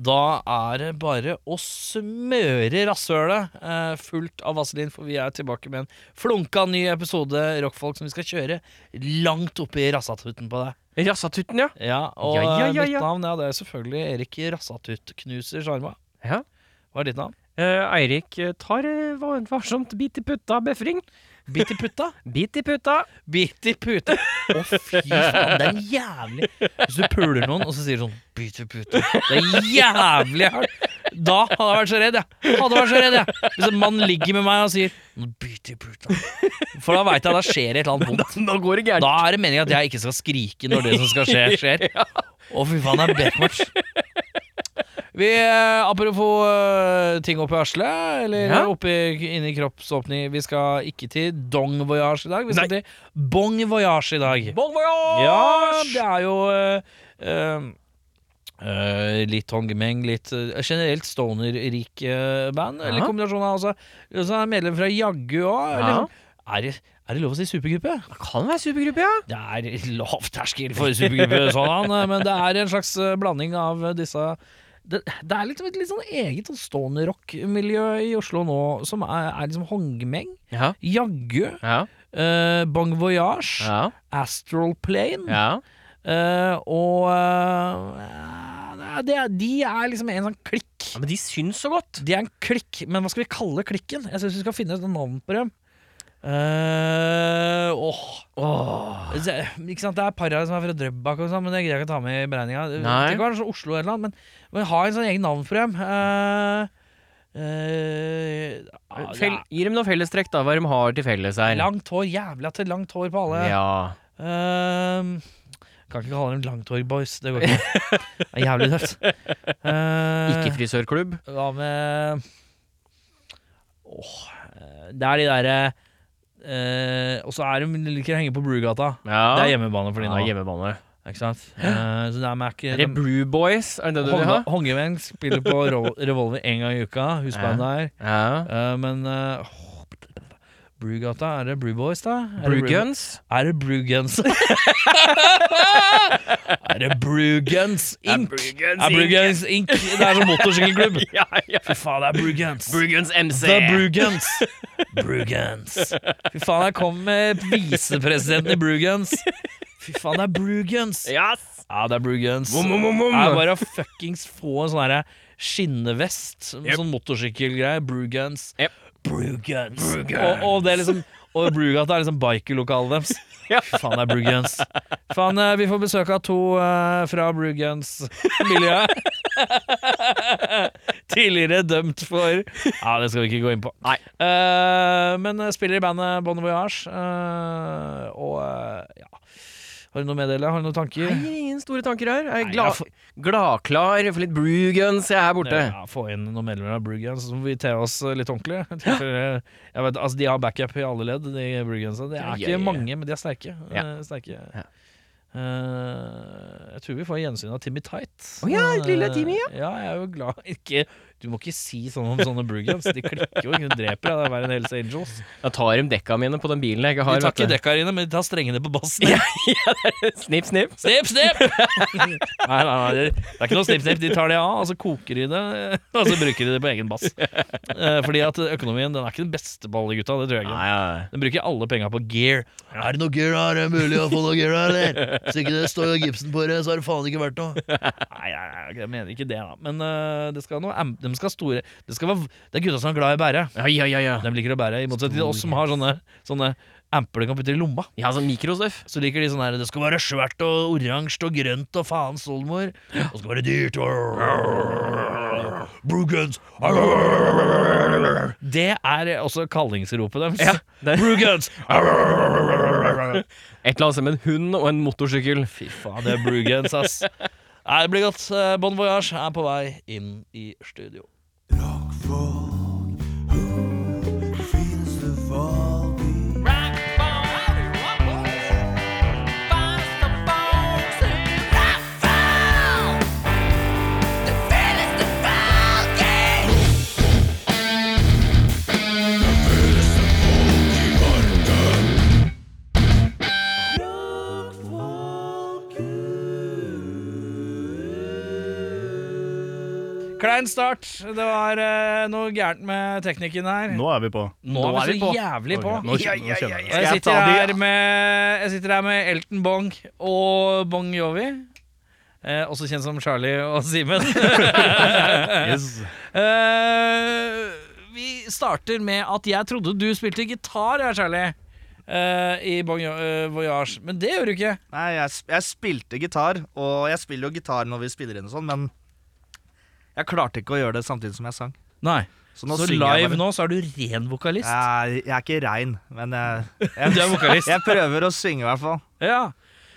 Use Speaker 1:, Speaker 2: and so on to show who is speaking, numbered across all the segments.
Speaker 1: da er det bare å smøre rasshølet eh, fullt av vaselin, for vi er tilbake med en flunka ny episode Rockfolk som vi skal kjøre langt oppi rassatuten på deg.
Speaker 2: Rassatuten, ja.
Speaker 1: Ja, Og
Speaker 2: Ja, ja, ja,
Speaker 1: mitt
Speaker 2: ja.
Speaker 1: navn ja, det er selvfølgelig Erik Rassatuttknuser Sjarma.
Speaker 2: ja.
Speaker 1: Hva er ditt navn?
Speaker 2: Eh, Eirik eh, tar eh, var- varsomt bit i putta befring.
Speaker 1: Bit i putta.
Speaker 2: Bit i putta.
Speaker 1: Bit i puta. Å, fy faen, det er jævlig Hvis du puler noen, og så sier du sånn Bit i puta. Det er jævlig hardt. Da hadde jeg vært så redd, jeg. Hadde vært så redd, jeg. Hvis en mann ligger med meg og sier «Nå, Bit i puta. For da veit jeg da skjer et eller annet vondt.
Speaker 2: Nå går det gærent.
Speaker 1: Da er det meninga at jeg ikke skal skrike når det som skal skje, skjer. Å, fy faen, det er backmatch. Vi, eh, apropos eh, ting oppi arslet, eller
Speaker 2: Ja.
Speaker 1: oppi, inni kroppsåpning Vi skal ikke til Dong Voyage i dag, vi skal
Speaker 2: Nei.
Speaker 1: til Bong Voyage i dag.
Speaker 2: Bon voyage!
Speaker 1: Ja, det er jo eh, eh, eh, litt Hongmeng, litt eh, generelt stoner-rik eh, band. Eller
Speaker 2: Ja.
Speaker 1: kombinasjon av også. også er medlem fra Jaggu òg.
Speaker 2: Ja.
Speaker 1: Er, det- er det lov å si supergruppe?
Speaker 2: Det kan være supergruppe, ja.
Speaker 1: Det er lav terskel for supergruppe, sånn, men det er en slags eh, blanding av eh, disse det, det er liksom et litt sånn eget sånn stoner-rock-miljø i Oslo nå, som er, er liksom Hongmeng,
Speaker 2: Ja.
Speaker 1: Jaggu,
Speaker 2: Ja.
Speaker 1: eh, Bong Voyage,
Speaker 2: Ja.
Speaker 1: Astral Plane eh, og eh, det, er- De er liksom en sånn klikk.
Speaker 2: Men de syns så godt.
Speaker 1: De er en klikk, men hva skal vi kalle klikken? Jeg syns vi skal finne et navn på dem. Eh, åh
Speaker 2: Åh.
Speaker 1: Så, ikke sant, Det er para som er fra Drøbak, og sånn, men det greier jeg ikke å ta med i beregninga. Det
Speaker 2: Nei.
Speaker 1: kan være sånn Oslo eller noe, men, men ha en sånn egen navn for dem. Eh, eh, ja, det
Speaker 2: Fell, gi dem noen fellestrekk, da. Hva de har til felles
Speaker 1: er
Speaker 2: her.
Speaker 1: langt hår, jævla til langt hår på alle.
Speaker 2: Ja.
Speaker 1: Eh, kan ikke kalle dem Langthårboys. Det går ikke. Det er jævlig tøft. Eh,
Speaker 2: Ikke frisørklubb.
Speaker 1: Hva med Åh eh, Det er de derre eh, Og så er de liker å henge på Brugata.
Speaker 2: Ja.
Speaker 1: Det er hjemmebane for de nå.
Speaker 2: Ja, hjemmebane.
Speaker 1: Ikke sant? Eh, så det er Mac
Speaker 2: Er det Blue Boys? Er det det du vil ha?
Speaker 1: Hongeveng spiller på Ro- Revolver én gang i uka, husband der.
Speaker 2: Ja.
Speaker 1: Eh, men eh, åh, Brugata, er det Brew Boys, da? Er det
Speaker 2: Blue Guns?
Speaker 1: Er det Brew Guns? er det Brew Guns Inc? Er Brew Guns Inc. Det er som motorsykkelklubb.
Speaker 2: Ja, ja.
Speaker 1: Fy faen, det er Brew Guns.
Speaker 2: Blue Guns MC.
Speaker 1: The Brugans. Brugans. Fy faen, jeg kom med visepresidenten i Brugans. Fy faen, det er Brugans.
Speaker 2: Yes.
Speaker 1: Ja, det er Brugans.
Speaker 2: Vom, vom, vom, vom.
Speaker 1: Det er bare å fuckings få en sånn herre skinnevest, en
Speaker 2: Yep.
Speaker 1: sånn motorsykkelgreie. Brugans.
Speaker 2: Yep.
Speaker 1: Brugans.
Speaker 2: Brugans.
Speaker 1: Og, og det er liksom og Brugata er liksom bikerlokalet deres.
Speaker 2: Ja.
Speaker 1: Fy faen, det er Brugans. Faen, eh, vi får besøk av to eh, fra Brugans-miljøet. Tidligere dømt for Ja, det skal vi ikke gå inn på.
Speaker 2: Nei.
Speaker 1: Eh, men eh, spiller i bandet Bon Voyage. eh, og eh, ja Har du noe å meddele? Har du noen tanker?
Speaker 2: Nei, ingen store tanker her. Jeg er
Speaker 1: Nei,
Speaker 2: gla
Speaker 1: jeg
Speaker 2: gladklar for litt Blue Guns jeg er her borte.
Speaker 1: Ja, få inn noen medlemmer av Brugans, så må vi te oss eh, litt ordentlig. Jeg tror, eh, Jeg vet, altså, de har backup i alle ledd, de Brugansa. Det er
Speaker 2: Ja,
Speaker 1: ikke
Speaker 2: ja, ja.
Speaker 1: mange, men de er sterke.
Speaker 2: Ja.
Speaker 1: Eh, sterke.
Speaker 2: Ja.
Speaker 1: Eh, jeg tror vi får gjensyn av Timmy Tight.
Speaker 2: Å ja, et lille Timmy,
Speaker 1: ja. ja. Jeg er jo glad ikke, Du må ikke si sånn om sånne Brugans. De klikker jo, de dreper deg. Det er verre enn Hells Angels.
Speaker 2: Da tar de dekka mine på den bilen jeg ikke
Speaker 1: De
Speaker 2: har.
Speaker 1: tar ikke
Speaker 2: vet
Speaker 1: dekka dine, men de tar strengene på bassen.
Speaker 2: du. Snipp, snipp.
Speaker 1: Snipp, snipp! nei, nei, nei, det det er ikke noe snipp, snipp. De tar det av, og så koker de det, og så bruker de det på egen bass. Eh, Fordi at økonomien den er ikke den beste på alle gutta, det tror jeg ikke.
Speaker 2: Nei, ja.
Speaker 1: De bruker alle penga på gear. Er det noe gear her? Er det mulig å få noe gear her, eller? Hvis ikke det står gipsen på det, så har det faen ikke vært noe. Nei, nei, nei, jeg mener ikke det, da. Men eh, det skal noe am- De skal ha store Det, skal være, det er gutta som er glad i å bære.
Speaker 2: Ja, ja, ja. ja.
Speaker 1: De liker å bære, i motsetning til oss som har sånne, sånne amper du kan putte i lomma.
Speaker 2: Ja, sånn mikrostoff.
Speaker 1: Så liker de sånn her Det skal være svært og oransje og grønt og faens oldemor. Og det skal være dyrt. Brugans. Det er også kallingsropet deres.
Speaker 2: Ja, det-
Speaker 1: Brugans.
Speaker 2: Et eller annet som en hund og en motorsykkel.
Speaker 1: Fy faen, det er Brugans, ass. Nei, det blir godt. Eh, Bon voyage er på vei inn i studio. Klein start. Det var eh, noe gærent med teknikken her.
Speaker 3: Nå er vi på.
Speaker 1: Nå er vi så jævlig på.
Speaker 3: Ok,
Speaker 2: Ja,
Speaker 3: nå kjenner, nå
Speaker 2: ja,
Speaker 1: Og
Speaker 3: kjenner jeg.
Speaker 1: jeg
Speaker 3: Skal jeg
Speaker 1: sitter,
Speaker 3: ta de-
Speaker 1: her med, jeg sitter her med Elton Bong og Bong Jovi. Eh, også kjent som Charlie og Simen.
Speaker 3: Yes.
Speaker 1: eh, vi starter med at jeg trodde du spilte gitar, ja, Charlie. eh, I Bon Jo- eh, Voyage. Men det gjør du ikke.
Speaker 4: Nei, jeg, sp- jeg spilte gitar, og jeg spiller jo gitar når vi spiller inn og sånn, men jeg klarte ikke å gjøre det samtidig som jeg sang.
Speaker 1: Nei
Speaker 4: Så nå
Speaker 1: Så
Speaker 4: synger jeg
Speaker 1: live
Speaker 4: bare.
Speaker 1: nå så er du ren vokalist.
Speaker 4: Jeg, jeg er ikke rein, men jeg,
Speaker 1: Du
Speaker 4: jeg,
Speaker 1: er vokalist.
Speaker 4: jeg prøver å synge i hvert fall.
Speaker 1: Ja.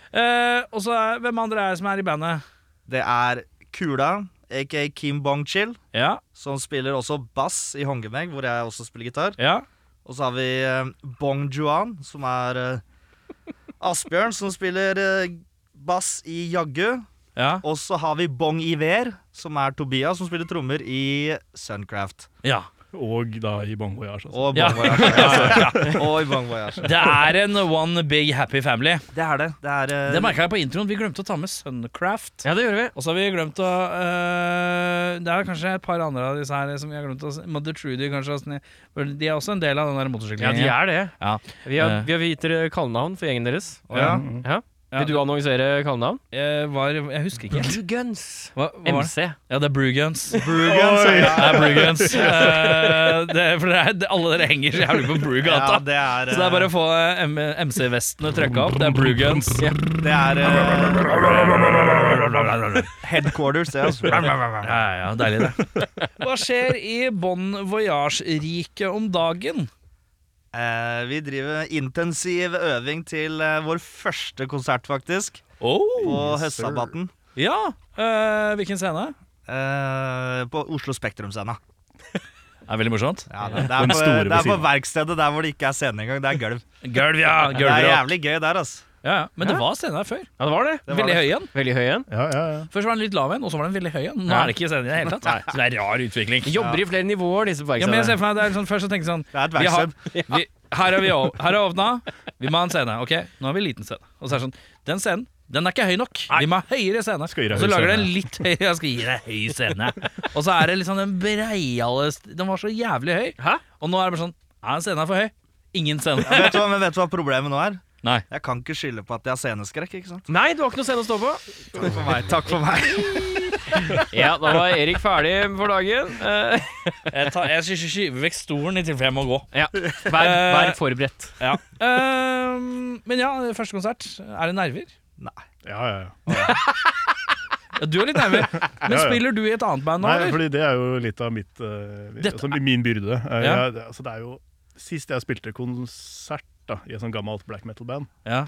Speaker 1: Eh, og så er, hvem andre er det som er i bandet?
Speaker 4: Det er Kula, aka Kim Bong-chil,
Speaker 1: Ja,
Speaker 4: som spiller også bass i Hongemeg, hvor jeg også spiller gitar.
Speaker 1: ja.
Speaker 4: Og så har vi eh, Bong Juan, som er eh, Asbjørn, som spiller eh, bass i Jaggu.
Speaker 1: Ja.
Speaker 4: Og så har vi Bong Iver, som er Tobias, som spiller trommer i Suncraft.
Speaker 1: ja.
Speaker 3: Og da i Bon Voyage. Altså.
Speaker 4: Og i
Speaker 1: Ja.
Speaker 4: Bong Voyage. og i Bong Voyage.
Speaker 1: Det er en one big happy family.
Speaker 4: Det er det. Det er eh,
Speaker 1: Det merka jeg på introen. Vi glemte å ta med Suncraft.
Speaker 2: Ja, det gjør vi.
Speaker 1: Og så har vi glemt å øh, Det er kanskje et par andre av disse her som vi har glemt å Mother Trudy, kanskje. og sånn. Vel, De er også en del av den der
Speaker 2: Ja, Eh.
Speaker 1: motorsykkelen.
Speaker 2: de er det.
Speaker 1: Ja.
Speaker 2: Vi har, vi har gitt dere kallenavn for gjengen deres.
Speaker 4: Å ja.
Speaker 3: Mm.
Speaker 2: Ja.
Speaker 1: Ja.
Speaker 2: Vil du annonsere kallenavn?
Speaker 1: Jeg, var, jeg husker ikke.
Speaker 2: Blue Guns.
Speaker 1: Hva, hva var det?
Speaker 2: MC.
Speaker 1: Ja, det er Brugans.
Speaker 4: Brugans,
Speaker 3: Oi.
Speaker 4: ja.
Speaker 1: Det er Brugans. Eh, det, er- for det er, alle dere henger så jævlig på Brugata.
Speaker 4: ja, det er
Speaker 1: Så det er bare å få eh, M- MC-vestene trøkka opp. Det er Blue Guns.
Speaker 4: Det er eh, Headquarters, det, altså.
Speaker 1: Ja, ja, deilig det. Hva skjer i Bon Voyage-riket om dagen?
Speaker 4: Eh, vi driver intensiv øving til eh, vår første konsert, faktisk. På høstsabbaten.
Speaker 1: Ja, eh, hvilken scene?
Speaker 4: eh, på Oslo Spektrum-scena.
Speaker 1: Det er veldig morsomt.
Speaker 4: Ja, det, det,
Speaker 3: Den
Speaker 4: er på,
Speaker 3: store
Speaker 4: det
Speaker 3: ved
Speaker 4: er på
Speaker 3: siden.
Speaker 4: verkstedet der hvor det ikke er scene engang. Det er gulv.
Speaker 1: Gulv, ja.
Speaker 4: Det er
Speaker 1: Gulvrock.
Speaker 4: jævlig gøy der, altså.
Speaker 1: Ja, ja. Men det
Speaker 2: Ja.
Speaker 1: var scene her før.
Speaker 2: Ja, det var det.
Speaker 4: Det var
Speaker 1: veldig
Speaker 4: det.
Speaker 1: høy en.
Speaker 2: Veldig høy en.
Speaker 3: Ja, ja, ja.
Speaker 1: Først var den litt lav en, og så var den veldig høy en. Nå
Speaker 2: Ja.
Speaker 1: er det ikke scene i det hele tatt. Så det er rar utvikling.
Speaker 2: Vi jobber i flere nivåer, disse på
Speaker 1: Ja, men jeg
Speaker 2: verkstedet.
Speaker 1: ser for meg, det er sånn, Først så tenkte jeg sånn
Speaker 4: Det er et
Speaker 1: vi har,
Speaker 4: verksted.
Speaker 1: vi, Her er vi å- her er åpna, vi må ha en scene. Ok, nå har vi liten scene. Og så er det sånn Den scenen den er ikke høy nok. Vi må ha høyere scene.
Speaker 3: Skal gi deg
Speaker 1: Og så
Speaker 3: høy
Speaker 1: lager den
Speaker 3: scene.
Speaker 1: litt høy Jeg skal gi deg høy scene. Og så er det liksom den breiale st- Den var så jævlig høy.
Speaker 2: Hæ?
Speaker 1: Og nå er det bare sånn Er scenen er for høy? Ingen scene.
Speaker 4: Ja, vet, du hva, men vet du hva problemet nå er?
Speaker 1: Nei.
Speaker 4: Jeg kan ikke skylde på at jeg har sceneskrekk. ikke sant?
Speaker 2: Nei, du har ikke noe scene å stå på.
Speaker 4: Takk for meg. takk for meg
Speaker 2: Ja, da var Erik ferdig for dagen. Eh,
Speaker 1: Jeg, tar, jeg sky- sky- skyver vekk stolen i tilfelle jeg må gå.
Speaker 2: ja. vær, vær forberedt.
Speaker 1: Ja. Ehm, men ja, første konsert. Er det nerver?
Speaker 3: ja, ja, ja.
Speaker 1: Ja, du er litt nerver. Men
Speaker 3: Ja, ja.
Speaker 1: spiller du i et annet band nå,
Speaker 3: Nei,
Speaker 1: eller?
Speaker 3: fordi det er jo litt av mitt eh,
Speaker 1: Dette
Speaker 3: altså, Min byrde. Eh,
Speaker 1: Ja.
Speaker 3: jeg, det, altså, det er jo Sist jeg spilte konsert da, i et sånt gammelt black metal-band
Speaker 1: Ja.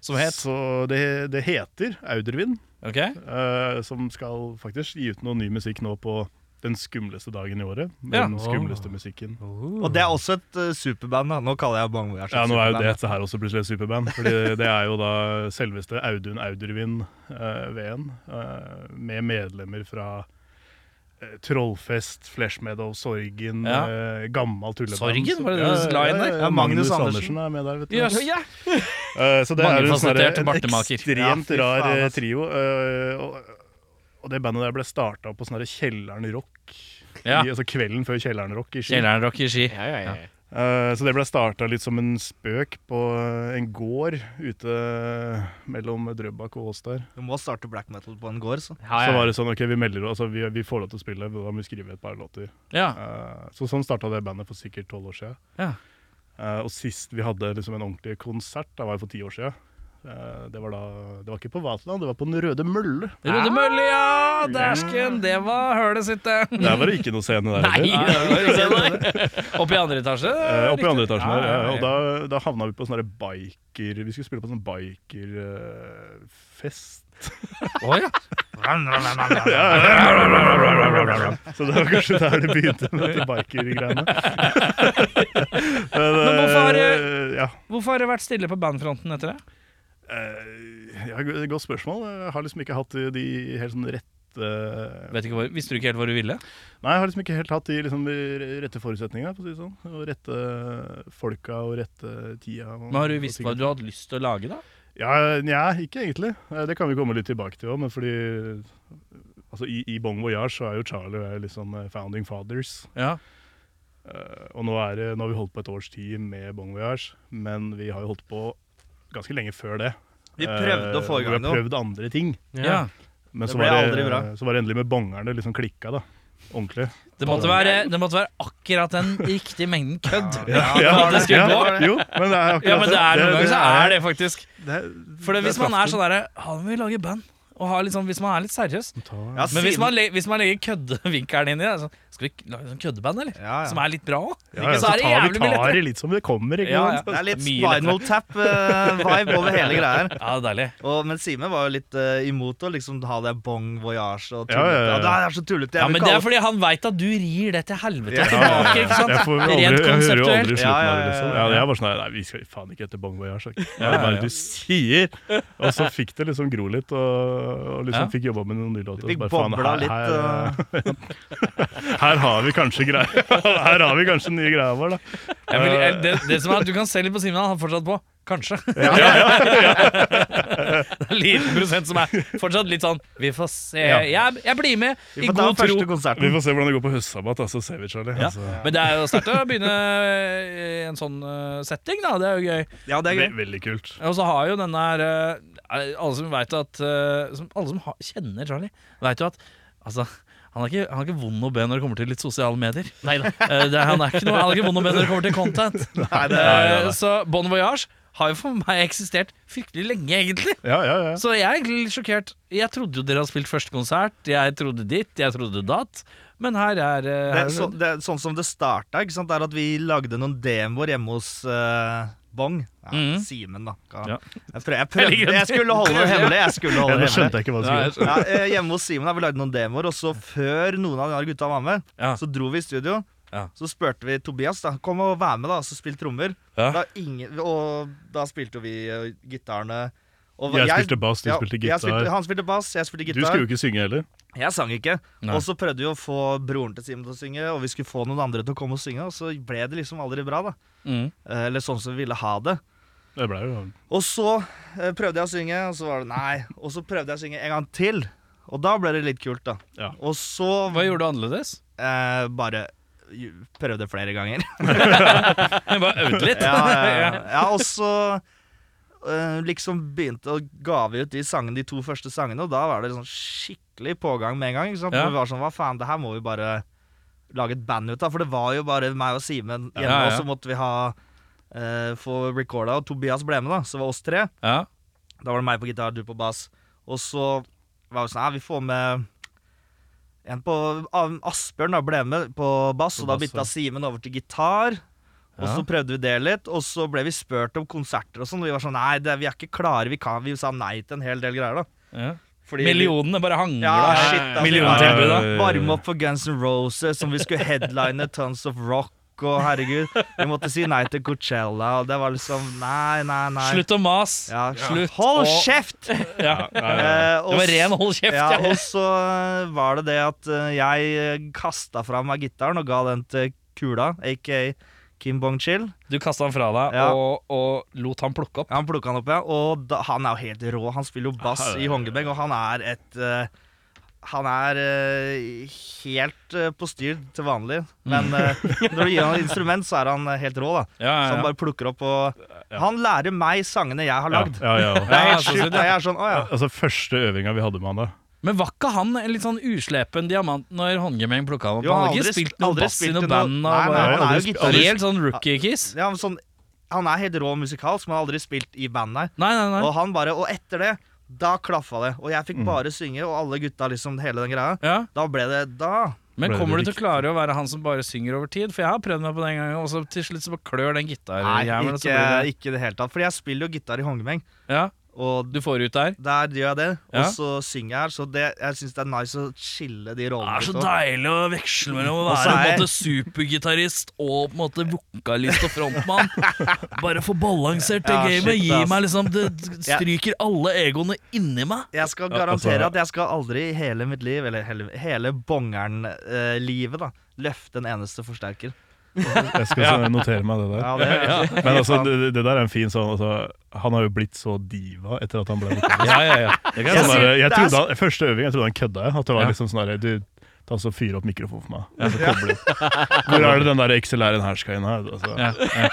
Speaker 1: Som het
Speaker 3: Så det, det heter Audervin,
Speaker 1: Ok?
Speaker 3: eh, som skal faktisk gi ut noe ny musikk nå på den skumleste dagen i året.
Speaker 1: Ja.
Speaker 3: Den skumleste musikken.
Speaker 4: Og det er også et eh, superband. da Nå kaller jeg Bang Voyage et
Speaker 3: Ja, nå er jo
Speaker 4: superband.
Speaker 3: dette her også plutselig et superband. Fordi det er jo da selveste Audun Audervin eh, Veen, eh, med medlemmer fra eh, Trollfest, Flesh Meadow, Sorgen,
Speaker 1: Ja.
Speaker 3: eh, gammel tulleband.
Speaker 1: Sorgen? Var det
Speaker 3: Ja,
Speaker 1: det du la inn der?
Speaker 3: ja, ja,
Speaker 4: Ja, Magnus
Speaker 3: Magnus
Speaker 4: Andersen.
Speaker 3: Andersen er med der, vet du.
Speaker 1: Jøss.
Speaker 2: Ja.
Speaker 3: Eh, så det er jo en, sånn
Speaker 1: Mangefasettert
Speaker 3: der- en
Speaker 1: bartemaker.
Speaker 4: Ja,
Speaker 3: ekstremt
Speaker 4: fy
Speaker 3: rar
Speaker 4: faen,
Speaker 3: eh,
Speaker 4: ass.
Speaker 3: trio. eh, og, og det bandet der ble starta på sånn der Kjelleren Rock,
Speaker 1: Ja.
Speaker 3: i, altså kvelden før Kjelleren Rock i Ski.
Speaker 1: Kjelleren rock i Ski.
Speaker 2: Ja, ja, ja.
Speaker 3: Eh, så det ble starta litt som en spøk på eh, en gård ute mellom Drøbak og Ås der.
Speaker 4: Du må starte black metal på en gård, så.
Speaker 2: Ja,
Speaker 3: Så
Speaker 2: ja.
Speaker 3: var det sånn OK, vi melder altså, vi, vi får lov til å spille, men da må vi skrive et par låter.
Speaker 1: Ja.
Speaker 3: Eh, så sånn starta det bandet for sikkert tolv år siden.
Speaker 1: Ja.
Speaker 3: Eh, og sist vi hadde liksom en ordentlig konsert, da var det for ti år siden. Eh, det var da Det var ikke på Vaterland, det var på Den røde mølle.
Speaker 1: Rode Mølle, ja! Dæsken, det var hølet sitt, det.
Speaker 3: Der var det ikke noe scene der
Speaker 2: Nei,
Speaker 3: heller.
Speaker 2: det var ikke det.
Speaker 1: Oppe i andre etasje?
Speaker 3: Eh, oppe i andre etasjen
Speaker 1: Ja,
Speaker 3: der.
Speaker 1: ja,
Speaker 3: ja,
Speaker 1: ja.
Speaker 3: Og da, da havna vi på sånne der biker Vi skulle spille på sånn bikerfest.
Speaker 1: Å, ja.
Speaker 3: Så det var kanskje der det begynte med dette biker-greiene. Men,
Speaker 1: Men hvorfor har
Speaker 3: eh, ja.
Speaker 1: Hvorfor har det vært stille på bandfronten etter det?
Speaker 3: Eh, ja, go- Godt spørsmål. Jeg har liksom ikke hatt de helt sånn rette
Speaker 1: Vet ikke hvor, Visste du ikke helt hvor du ville?
Speaker 3: Nei, jeg har liksom ikke helt hatt de liksom rette forutsetningene, for å si det sånn. Og rette folka og rette tida. Og,
Speaker 1: Men Har du
Speaker 3: og
Speaker 1: visst
Speaker 3: ting.
Speaker 1: hva du hadde lyst til å lage, da?
Speaker 3: Ja, nja, ikke egentlig. Eh, Det kan vi komme litt tilbake til òg, men fordi Altså I, i Bon Voyage så er jo Charlie er litt sånn eh, founding fathers.
Speaker 1: Ja.
Speaker 3: Eh, og nå, er det, nå har vi holdt på et års tid med Bon Voyage, men vi har jo holdt på ganske lenge før det.
Speaker 4: Vi prøvde å
Speaker 3: Eh,
Speaker 4: få i gang
Speaker 3: Vi har
Speaker 4: noe.
Speaker 3: prøvd andre ting.
Speaker 1: ja.
Speaker 3: Men
Speaker 4: Det
Speaker 3: så
Speaker 4: ble
Speaker 3: var, det,
Speaker 4: aldri bra.
Speaker 3: så var det endelig med bongerne liksom klikka, da. Ordentlig.
Speaker 1: Det, måtte være, det måtte være akkurat den riktige mengden kødd.
Speaker 4: det
Speaker 1: skulle gå.
Speaker 3: jo, men det er akkurat
Speaker 1: Ja, men det er noen ganger så er det faktisk.
Speaker 3: det-
Speaker 1: For det,
Speaker 3: det
Speaker 1: hvis man er sånn derre «Ja, nå må vi lage band. Og har litt sånn, hvis man er litt seriøs.
Speaker 3: Ta-
Speaker 4: Ja,
Speaker 1: Men hvis
Speaker 4: siden-
Speaker 1: man, le, hvis man legger køddevinkelen inn i det, så skal vi lage sånn køddeband, eller?
Speaker 4: ja,
Speaker 1: Som
Speaker 4: ja.
Speaker 1: er litt bra òg.
Speaker 3: Ja, ja,
Speaker 1: så er det
Speaker 3: så tar vi
Speaker 1: jævlig mye
Speaker 3: tar
Speaker 1: lettere.
Speaker 3: det litt som det kommer, ikke
Speaker 1: Ja,
Speaker 3: sant?
Speaker 4: Det er litt
Speaker 1: Mye lettere.
Speaker 4: spinal tap-vibe over hele greia her.
Speaker 1: Ja, det er deilig.
Speaker 4: Og, men Sime var jo litt eh, imot å liksom ha det bong voyage og
Speaker 3: Ja,
Speaker 4: tullete.
Speaker 3: ja, ja.
Speaker 4: Ja, det er så tullete. Jeg
Speaker 1: Ja,
Speaker 4: vil
Speaker 1: men
Speaker 4: ikke
Speaker 1: det
Speaker 4: ha
Speaker 1: er fordi han veit at du rir det til helvete
Speaker 4: Ja,
Speaker 1: tilbake, ikke sant?
Speaker 3: Jeg, får jo aldri,
Speaker 1: Rent
Speaker 3: jeg hører jo aldri
Speaker 1: konseptuelt.
Speaker 3: slutten
Speaker 4: Ja, ja,
Speaker 3: av det,
Speaker 4: ja,
Speaker 3: liksom.
Speaker 4: ja.
Speaker 3: Ja, jeg var sånn Nei, vi skal faen ikke etter Bon Voyage. ikke? Det
Speaker 1: Ja,
Speaker 3: er
Speaker 1: ja,
Speaker 3: bare
Speaker 1: ja.
Speaker 3: du sier! Og så fikk det liksom gro litt, og, og
Speaker 1: Ja.
Speaker 3: liksom fikk jobba med noen nye låter. og
Speaker 4: Fikk
Speaker 3: så bare, faen,
Speaker 4: bobla
Speaker 3: her-
Speaker 4: litt.
Speaker 3: her-
Speaker 4: eh,
Speaker 3: Her har vi kanskje greier Her har vi kanskje nye greia vår, da.
Speaker 1: Jeg vil, jeg- det, det som er, at Du kan se litt på Simen, han har fortsatt på. Kanskje. det er en liten prosent som er fortsatt litt sånn Vi får se.
Speaker 3: Ja.
Speaker 1: Jeg, jeg blir med
Speaker 4: Vi
Speaker 1: i
Speaker 4: får ta
Speaker 1: god tro.
Speaker 4: første konserten.
Speaker 3: Vi får se hvordan det går på høstsabbat, da, så ser vi, Charlie.
Speaker 1: Ja.
Speaker 3: Altså,
Speaker 1: Men det er jo sterkt å begynne i en sånn eh, setting, da. Det er jo gøy.
Speaker 4: Ja, det er
Speaker 3: ve
Speaker 4: gøy.
Speaker 3: veldig kult.
Speaker 1: Og så har jo den der eh, Alle som vet at eh, som, Alle som ha, kjenner Charlie, vet jo at Altså han er, ikke, han er ikke vond å be når det kommer til litt sosiale medier. Eh, det, er- han, er ikke noe, han er ikke vond å be når det kommer til content.
Speaker 4: Nei, det er,
Speaker 1: Eh, Så Bon Voyage har jo for meg eksistert fryktelig lenge, egentlig.
Speaker 3: Ja, ja, ja.
Speaker 1: Så jeg er egentlig litt sjokkert. Jeg trodde jo dere hadde spilt første konsert. Jeg trodde ditt, jeg trodde datt. Men her er eh,
Speaker 4: det,
Speaker 1: her
Speaker 4: er
Speaker 1: er-
Speaker 4: så, det er sånn som det starta, ikke sant, er at vi lagde noen demoer hjemme hos eh, Bong. Ja,
Speaker 1: Mhm.
Speaker 4: Simen, da.
Speaker 3: Mm. Ja.
Speaker 4: Jeg, prøv, jeg prøvde, jeg skulle holde det hemmelig. Jeg skulle
Speaker 3: Ja,
Speaker 4: holde
Speaker 3: Nå
Speaker 4: det hemmelig.
Speaker 3: skjønte jeg ikke hva det
Speaker 1: Nei,
Speaker 3: skulle
Speaker 1: jeg
Speaker 3: gjøre.
Speaker 4: Ja, eh, hjemme hos Simen har vi lagd noen demoer, og så før noen av de andre gutta var med,
Speaker 1: Ja.
Speaker 4: så dro vi i studio.
Speaker 1: Ja.
Speaker 4: Så spurte vi Tobias da, kom og vær med, da, og så spill trommer.
Speaker 1: Ja.
Speaker 4: Da ingen, og da spilte jo vi eh, gitarene. Og
Speaker 3: Jeg spilte bass, du
Speaker 4: ja,
Speaker 3: spilte
Speaker 4: jeg spilte-
Speaker 3: gitar.
Speaker 4: han spilte bass, jeg spilte
Speaker 3: Du
Speaker 4: gitar.
Speaker 3: skulle jo ikke synge heller.
Speaker 4: Jeg sang ikke.
Speaker 1: Nei.
Speaker 4: Og så prøvde vi å få broren til Simen til å synge, og vi skulle få noen andre til å komme og synge, og så ble det liksom aldri bra, da.
Speaker 1: Mm.
Speaker 4: Eh, Eller sånn som vi ville ha det.
Speaker 3: Det ble jo
Speaker 4: Og så eh, prøvde jeg å synge, og så var det nei. Og så prøvde jeg å synge en gang til, og da ble det litt kult, da.
Speaker 3: Ja.
Speaker 4: Og så
Speaker 1: Hva gjorde du annerledes?
Speaker 4: Eh, bare ju- prøvde flere ganger.
Speaker 1: Jeg bare øvde litt.
Speaker 4: ja, ja, ja. ja, og så eh, liksom begynte og ga vi ut de sangene, de to første sangene, og da var det sånn skikkelig pågang med en gang. Ikke sant?
Speaker 1: Ja.
Speaker 4: Og Vi var sånn, hva faen, det her må vi bare lage et band ut av, for det var jo bare meg og Simen hjemme,
Speaker 1: Ja, ja.
Speaker 4: og så måtte vi ha eh, få recorda, og Tobias ble med, da, så det var oss tre.
Speaker 1: Ja.
Speaker 4: Da var det meg på gitar, du på bass. Og så var vi sånn, ja, vi får med en på Asbjørn da, ble med på bass,
Speaker 1: På
Speaker 4: og da
Speaker 1: bass, ja.
Speaker 4: bytta Simen over til gitar. Og
Speaker 1: Ja.
Speaker 4: så prøvde vi det litt, og så ble vi spurt om konserter og sånn. Og vi var sånn, nei, det, vi er ikke klare, vi kan Vi sa nei til en hel del greier, da.
Speaker 1: Ja.
Speaker 4: Fordi vi-
Speaker 1: Millionene bare hangler
Speaker 4: Ja,
Speaker 1: der.
Speaker 4: shit, altså.
Speaker 1: Milliontilbud, da.
Speaker 4: Varme opp for Guns N' Roses, som vi skulle headline Tons of Rock. Og herregud, vi måtte si nei til Coachella, og det var liksom Nei, nei, nei.
Speaker 1: Slutt å mas.
Speaker 4: Ja,
Speaker 1: Slutt
Speaker 4: Hold
Speaker 1: å-
Speaker 4: kjeft!
Speaker 1: Ja.
Speaker 4: Eh, og
Speaker 1: Det var
Speaker 4: s-
Speaker 1: ren hold kjeft.
Speaker 4: Ja,
Speaker 1: Ja.
Speaker 4: og så eh, var det det at eh, jeg kasta fra meg gitaren og ga den til Kula, aka Kim Bong-chil.
Speaker 1: Du kasta han fra deg
Speaker 4: Ja.
Speaker 1: og, og lot han plukke opp.
Speaker 4: Han plukka den opp, ja. Og da, han er jo helt rå. Han spiller jo bass i Hongebeng, og han er et eh, Han er eh, helt eh, på styr til vanlig, men
Speaker 1: Mm.
Speaker 4: eh, når du gir han et instrument, så er han eh, helt rå, da.
Speaker 1: Ja,
Speaker 4: Så han bare plukker opp og Han lærer meg sangene jeg har
Speaker 3: Ja,
Speaker 4: lagd.
Speaker 3: ja, ja.
Speaker 4: Det er
Speaker 1: Ja,
Speaker 4: helt
Speaker 1: så
Speaker 4: sjukt.
Speaker 1: sykt,
Speaker 4: og Jeg er sånn, å ja.
Speaker 3: Altså, første øvinga vi hadde med han da
Speaker 1: Men var ikke han en litt sånn uslepen diamant når håndgemeng plukka han opp?
Speaker 4: Jo,
Speaker 1: han
Speaker 4: han
Speaker 1: hadde ikke
Speaker 4: aldri sp-
Speaker 1: spilt noe
Speaker 4: aldri
Speaker 1: bass i
Speaker 4: spilt
Speaker 1: noe
Speaker 4: noe-
Speaker 1: band? eh,
Speaker 4: Nei,
Speaker 1: Og
Speaker 4: nei,
Speaker 1: bare,
Speaker 4: han er jo
Speaker 3: Aldri sp-
Speaker 4: gitarist.
Speaker 1: helt sånn rookie-kiss?
Speaker 4: Ja, men sånn, han er helt rå musikalsk, men har aldri spilt i band, nei.
Speaker 1: Nei, nei, Mm. nei.
Speaker 4: Og han bare, og etter det, da klaffa det. Og jeg fikk bare synge, og alle gutta liksom hele den greia.
Speaker 1: Ja.
Speaker 4: Da ble det Da!
Speaker 1: Men
Speaker 3: Ble det
Speaker 1: kommer du til å
Speaker 3: riktig?
Speaker 1: klare å være han som bare synger over tid? For jeg har prøvd meg på det en gang, og så til slutt så bare klør den gitarjævelen. og så
Speaker 4: ikke,
Speaker 1: blir det-
Speaker 4: ikke i det hele tatt. Fordi jeg spiller jo gitar i hongemeng,
Speaker 1: Ja,
Speaker 4: og
Speaker 1: du får ut der.
Speaker 4: der gjør jeg det.
Speaker 1: Ja.
Speaker 4: Og så synger jeg her, så det, jeg syns det er nice å skille de
Speaker 1: Det er
Speaker 4: rollene
Speaker 1: Ah, så
Speaker 4: litt. også.
Speaker 1: deilig å veksle mellom å
Speaker 4: Og så
Speaker 1: være på
Speaker 4: er
Speaker 1: en måte supergitarist og på en måte vokalist og frontmann. Bare få balansert det
Speaker 4: Ja, shit,
Speaker 1: gamet. Gi
Speaker 4: ass.
Speaker 1: meg liksom Det stryker alle egoene inni meg.
Speaker 4: Jeg skal
Speaker 1: altså,
Speaker 4: garantere at jeg skal aldri i eh, hele mitt liv, eller hele, hele bongeren-livet, da løfte en eneste forsterker.
Speaker 3: Jeg skal så notere meg det der.
Speaker 4: Ja, det er,
Speaker 3: Men altså, det, det der er en fin sånn altså, Han har jo blitt så diva etter at han ble vokalist.
Speaker 1: Ja, ja, ja. Det kan jeg
Speaker 3: Sånn
Speaker 1: si.
Speaker 4: sier-
Speaker 3: der, jeg
Speaker 4: det er
Speaker 3: trodde han, første øving jeg trodde han kødda. jeg, At det var
Speaker 1: Ja.
Speaker 3: liksom sånn der, Du, ta så Fyr opp mikrofonen for meg. og så kobler du. Hvor er det den der XLR-en her skal inn? her? Altså,
Speaker 1: Ja.
Speaker 3: Ja.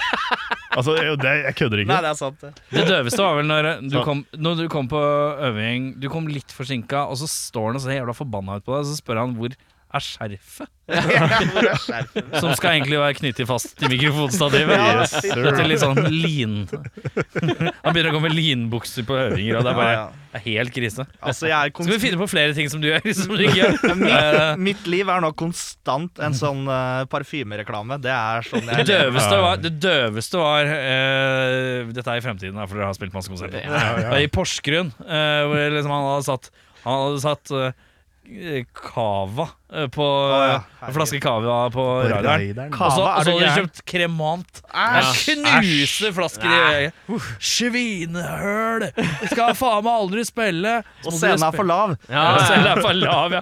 Speaker 3: altså jeg- det, Jeg kødder
Speaker 4: Nei,
Speaker 3: ikke.
Speaker 4: det er sant, det.
Speaker 1: Det døveste var vel når eh, du,
Speaker 3: Så.
Speaker 1: kom, når du kom på øving, du kom litt forsinka, og så står han og ser jævla forbanna ut på deg, og så spør han hvor er skjerfet
Speaker 4: Hvor er skjerfet?
Speaker 1: som skal egentlig være knyttet fast til mikrofonstativet?
Speaker 4: Ja,
Speaker 3: Yes,
Speaker 4: det er
Speaker 1: Til
Speaker 3: sir.
Speaker 1: litt sånn lin Han begynner å gå med linbukser på øvinger, og det er bare
Speaker 4: Ja, ja.
Speaker 1: det er helt krise.
Speaker 4: Altså, jeg
Speaker 1: Skal
Speaker 4: er
Speaker 1: vi
Speaker 4: konstant
Speaker 1: finne på flere ting som du gjør, som du ikke gjør? Eh,
Speaker 4: mitt, mitt liv er nå konstant en sånn eh, parfymereklame. Det er sånn
Speaker 1: Eh, Det
Speaker 4: jeg
Speaker 1: døveste var, det døveste var eh, Dette er i fremtiden, da, for dere har spilt masse konserter.
Speaker 3: ja.
Speaker 1: Det var I Porsgrunn, eh, hvor liksom han hadde satt Han hadde satt eh, Cava eh, på
Speaker 4: ja.
Speaker 1: En flaske Cava på radioen. Og så
Speaker 4: Cava, er
Speaker 1: og så
Speaker 4: du
Speaker 1: hadde de
Speaker 4: gæren?
Speaker 1: kjøpt Cremant.
Speaker 4: Æsj!
Speaker 1: Jeg knuser flasker i øyet. Svinehøl! Skal faen meg aldri spille!
Speaker 4: Og scenen er for lav.
Speaker 1: ja, Selv er for lav, ja.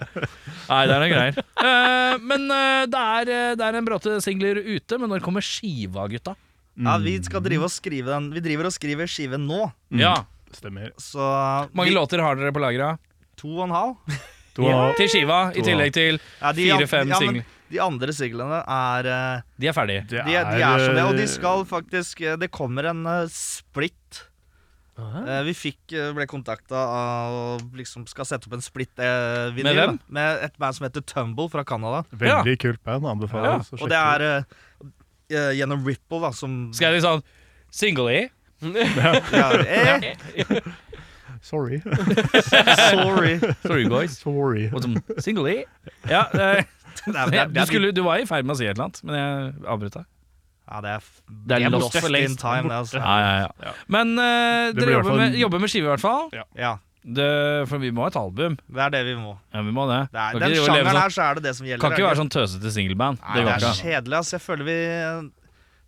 Speaker 1: Nei, det er noen greier. Eh, men eh, det, er, eh, det er en bråte singler ute, men når kommer skiva, gutta?
Speaker 4: Ja, vi skal drive og skrive den. Vi driver og skriver skiven nå,
Speaker 1: Ja.
Speaker 3: Mm, Stemmer.
Speaker 4: så
Speaker 1: Hvor mange låter har dere på lagra?
Speaker 4: To og en halv?
Speaker 3: To og en halv.
Speaker 1: Til skiva, i
Speaker 3: To.
Speaker 1: tillegg til
Speaker 4: Ja, de-
Speaker 1: fire-fem
Speaker 4: ja, men
Speaker 1: singler.
Speaker 4: De andre singlene er eh,
Speaker 1: De er ferdige.
Speaker 3: Det
Speaker 4: de, de er som det, og de
Speaker 1: eh,
Speaker 4: skal faktisk eh, Det kommer en eh, splitt. Eh, Vi fikk, eh, ble kontakta av liksom skal sette opp en splitt-vinyl.
Speaker 1: hvem?
Speaker 4: med et band som heter Tumble fra Canada.
Speaker 3: Veldig kult band.
Speaker 1: Ja,
Speaker 3: Anbefales. å
Speaker 4: Og
Speaker 3: sjekke
Speaker 4: det er eh, eh, gjennom Ripple, da, som
Speaker 1: Skal jeg litt sånn single i?
Speaker 4: ja, eh,
Speaker 3: ut. Sorry.
Speaker 4: Sorry.
Speaker 1: Sorry, boys.
Speaker 3: Sorry.
Speaker 1: Og sånn, single i? Ja, eh,
Speaker 4: Det er, det er,
Speaker 1: du, skulle, du var i ferd med å si et eller annet, men jeg avbrøt deg.
Speaker 4: ja, det er, f-
Speaker 1: Det er lost
Speaker 4: lost
Speaker 1: for
Speaker 4: in
Speaker 1: lengst.
Speaker 4: time. det, Altså.
Speaker 1: Ja, ja, ja. Men eh,
Speaker 3: Det blir
Speaker 1: dere
Speaker 3: i hvert
Speaker 1: jobber
Speaker 3: fall-
Speaker 1: med, jobber med skive, i hvert fall.
Speaker 4: Ja,
Speaker 1: Det, for vi må ha et album.
Speaker 4: det er det vi må.
Speaker 1: Ja, vi må det.
Speaker 4: Det er,
Speaker 1: Kan
Speaker 4: den
Speaker 1: ikke drive og leve
Speaker 4: sjangeren
Speaker 1: sånn-
Speaker 4: her, så er det det som gjelder.
Speaker 1: Kan
Speaker 4: er
Speaker 1: ikke være sånn tøsete singelband.
Speaker 4: Nei,
Speaker 1: Det
Speaker 4: det
Speaker 1: går
Speaker 4: er
Speaker 1: ikke.
Speaker 4: kjedelig, ass. Jeg føler vi eh,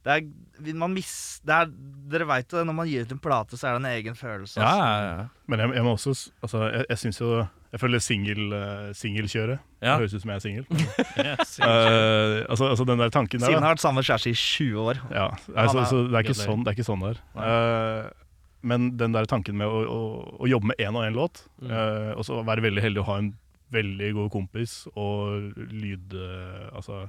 Speaker 4: Det er vi- Man miss... Det er, dere veit jo det, når man gir ut en plate, så er det en egen følelse.
Speaker 1: Ja,
Speaker 4: ass.
Speaker 1: ja, ja.
Speaker 3: Men jeg, jeg må også s- altså, Jeg, jeg syns jo Jeg føler singel, eh, singelkjøret.
Speaker 1: Ja.
Speaker 3: Det høres ut som jeg er singel.
Speaker 1: Yes.
Speaker 3: Eh, altså, altså den der tanken der.
Speaker 4: Siden
Speaker 3: da.
Speaker 4: har vært sammen med kjæreste i 20 år.
Speaker 3: Ja, altså,
Speaker 4: Han er-
Speaker 3: altså, det, er ikke
Speaker 1: Gratulerer.
Speaker 3: sånn, det er ikke sånn det er. Eh, men den der tanken med å, å, å jobbe med én og én låt,
Speaker 4: Mm.
Speaker 3: eh, og så være veldig heldig å ha en veldig god kompis og lyd... eh, altså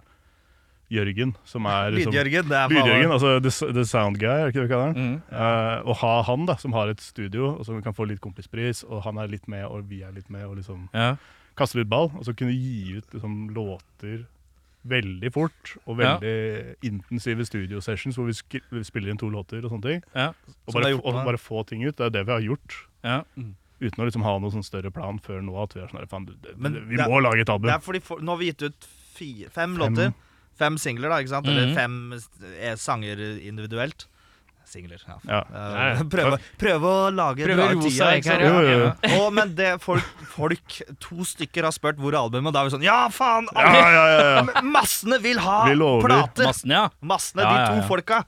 Speaker 3: Jørgen, som er liksom-
Speaker 4: Lydjørgen, det er
Speaker 3: Lydjørgen, altså the, s- the Sound Guy, er det ikke det vi kaller han?
Speaker 1: Mm.
Speaker 3: Eh, Å ha han, da, som har et studio, og som kan få litt kompispris, og han er litt med, og vi er litt med, og liksom
Speaker 1: Ja.
Speaker 3: kaste litt ball, og så kunne gi ut liksom, låter veldig fort, og
Speaker 1: Ja.
Speaker 3: veldig intensive studiosessions hvor vi sk- vi spiller inn to låter og sånne ting.
Speaker 1: Ja.
Speaker 3: Og
Speaker 4: Som det
Speaker 3: bare,
Speaker 4: er
Speaker 3: f-
Speaker 4: gjort
Speaker 3: og
Speaker 4: nå.
Speaker 3: bare få ting ut. Det er det vi har gjort.
Speaker 1: Ja.
Speaker 3: Uten å liksom ha noen sånn større plan før nå. at Vi er sånn, her, faen, det- det-
Speaker 4: Men
Speaker 3: vi
Speaker 4: det er-
Speaker 3: må lage et album.
Speaker 4: Det er fordi for, Nå har vi gitt ut fire, fem, låter. Fem singler, da, ikke sant? Eller
Speaker 1: Mhm.
Speaker 4: fem eh, sanger individuelt. Singler, ja.
Speaker 3: Ja.
Speaker 4: Eh, prøve, prøve å lage
Speaker 2: Prøve
Speaker 4: dra ut
Speaker 2: rosa
Speaker 4: tida,
Speaker 2: egg
Speaker 4: ikke sant?
Speaker 2: her,
Speaker 3: Jo, jo, jo.
Speaker 4: Å, men det folk, folk, to stykker har spurt hvor er albumet, og da er vi sånn Ja, faen!
Speaker 3: Ja,
Speaker 4: alle-
Speaker 3: ja, ja, ja.
Speaker 4: Men Massene vil ha
Speaker 3: Vi lover.
Speaker 4: plater!
Speaker 1: Massen, ja.
Speaker 4: Massene,
Speaker 1: Ja,
Speaker 4: de
Speaker 1: ja,
Speaker 4: to
Speaker 1: ja.
Speaker 4: folka.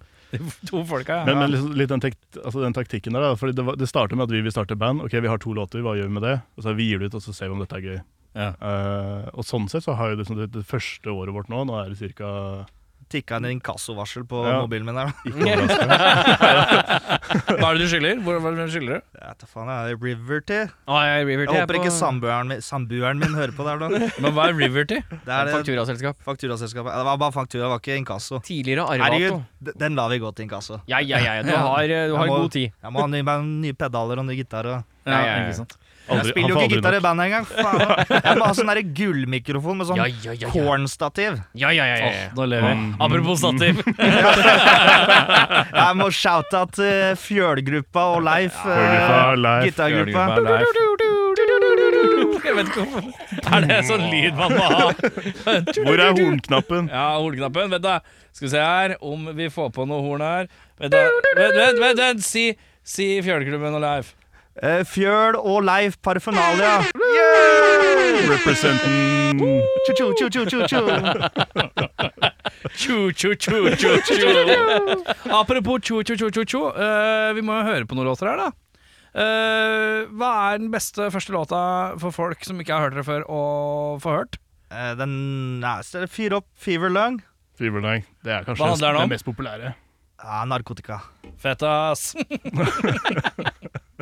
Speaker 1: To folka, ja.
Speaker 3: Men, men liksom, litt den, tek altså, den taktikken der, da. Fordi det, var- det starter med at vi vil starte band. Ok, vi har to låter, hva gjør vi med det? Og så vi gir det ut, og så ser vi om dette er gøy.
Speaker 1: Ja.
Speaker 3: Eh, og sånn sett så har jo liksom det, det første året vårt nå, nå er det ca.
Speaker 4: Tikka en inkassovarsel på
Speaker 3: Ja.
Speaker 4: mobilen min her. da.
Speaker 3: ikke overraskende.
Speaker 1: Hva er det du skylder? Hvor- Hva er det du skylder?
Speaker 4: Jeg vet da faen, jeg er Riverty.
Speaker 2: Ah, jeg, jeg,
Speaker 4: Jeg håper ikke samboeren min, samboeren min hører på det her nå.
Speaker 1: Men hva er Riverty?
Speaker 4: Det er det
Speaker 2: Fakturaselskap.
Speaker 4: fakturaselskapet. Det var bare faktura, det var ikke inkasso.
Speaker 2: Tidligere
Speaker 4: Herregud,
Speaker 2: Arvato.
Speaker 4: d- den lar vi gå til inkasso.
Speaker 2: Ja, ja, ja, ja. Du har, eh, du har
Speaker 4: Jeg må-
Speaker 2: god tid.
Speaker 4: Jeg må ha nye, nye pedaler og nye gitarer.
Speaker 2: Ja, ja, ja.
Speaker 1: ikke sant.
Speaker 4: Jeg
Speaker 3: Aldri- han
Speaker 4: spiller jo
Speaker 3: får
Speaker 4: ikke
Speaker 3: aldri
Speaker 4: gitar
Speaker 3: nok.
Speaker 4: i bandet engang. faen. Jeg må ha sånn derre gullmikrofon med sånn
Speaker 2: Ja, ja, ja, ja.
Speaker 4: cornstativ.
Speaker 2: ja, ja, ja, ja.
Speaker 1: Åh, nå lever vi.
Speaker 3: Mm.
Speaker 1: Apropos stativ.
Speaker 4: Jeg må shoute til Fjølgruppa og Leif.
Speaker 3: Fjølgruppa,
Speaker 4: eh,
Speaker 3: Leif,
Speaker 4: Gitargruppa.
Speaker 1: Jeg vet ikke hvorfor. Er det sånn lyd man må ha?
Speaker 3: Hvor er hornknappen?
Speaker 1: Ja, hornknappen. Vent, da. Skal vi se her om vi får på noe horn her. Vent, da. Vent, vent, vent, vent. Si, si Fjølklubben og Leif.
Speaker 4: Eh, Fjøl og Leif Parfenalia.
Speaker 3: Representing
Speaker 4: Tju-tju, tju-tju, tju-tju.
Speaker 1: Tjo, tjo, tjo, tjo, tjo. Apropos tjo, tjo, tjo, tjo, tjo. eh, vi må jo høre på noen låter her, da. Eh, hva er den beste første låta for folk som ikke har hørt dere før, å få hørt?
Speaker 4: Eh, Den er så Fyr opp Fever Lung.
Speaker 3: Fiberlang. Det er
Speaker 1: Hva
Speaker 3: kanskje
Speaker 1: handler den om?
Speaker 3: det mest populære.
Speaker 4: Ja, Ah, narkotika.
Speaker 1: Fett, ass!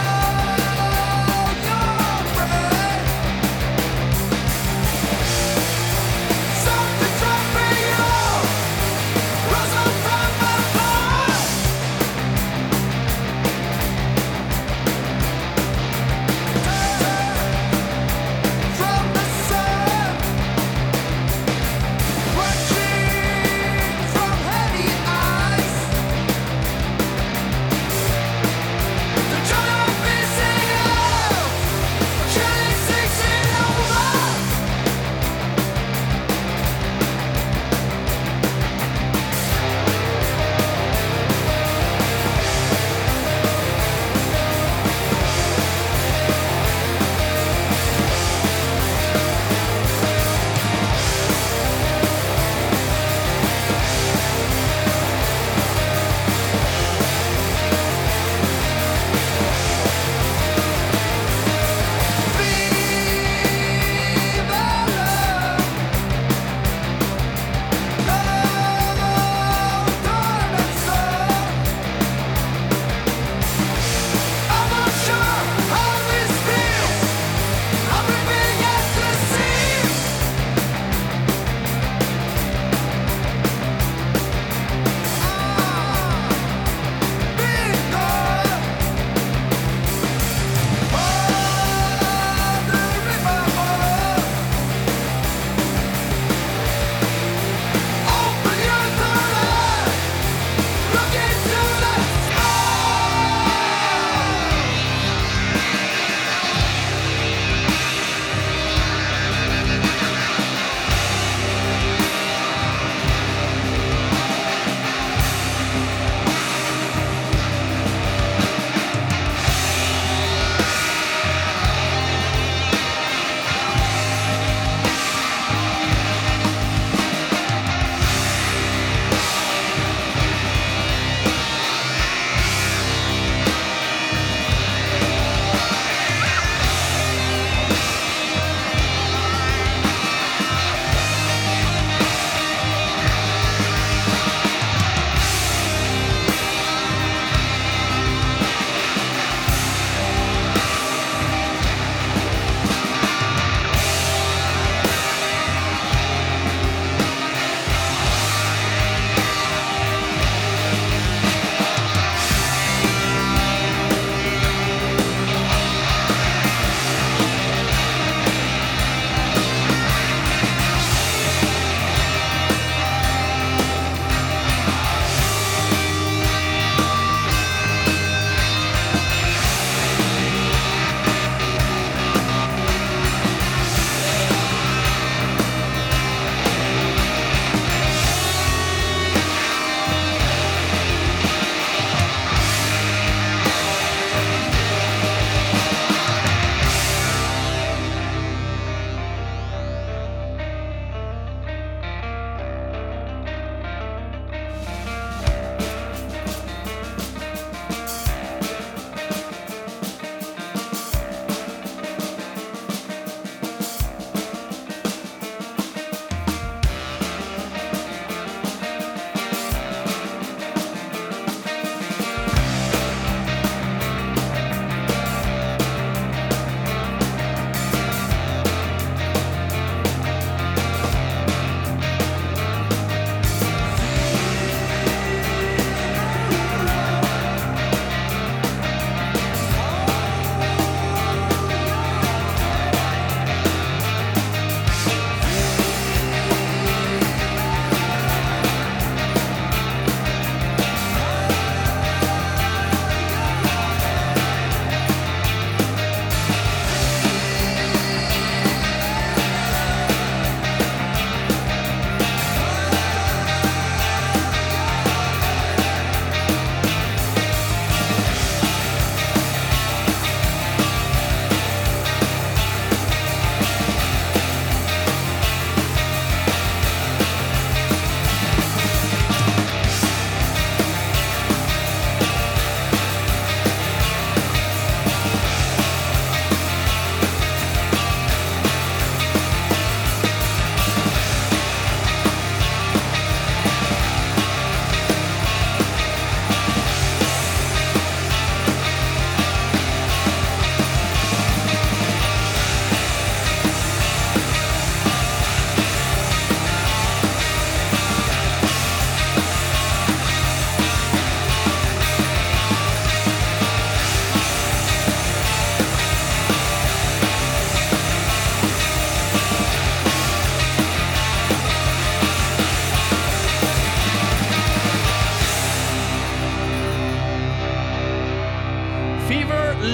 Speaker 5: Oh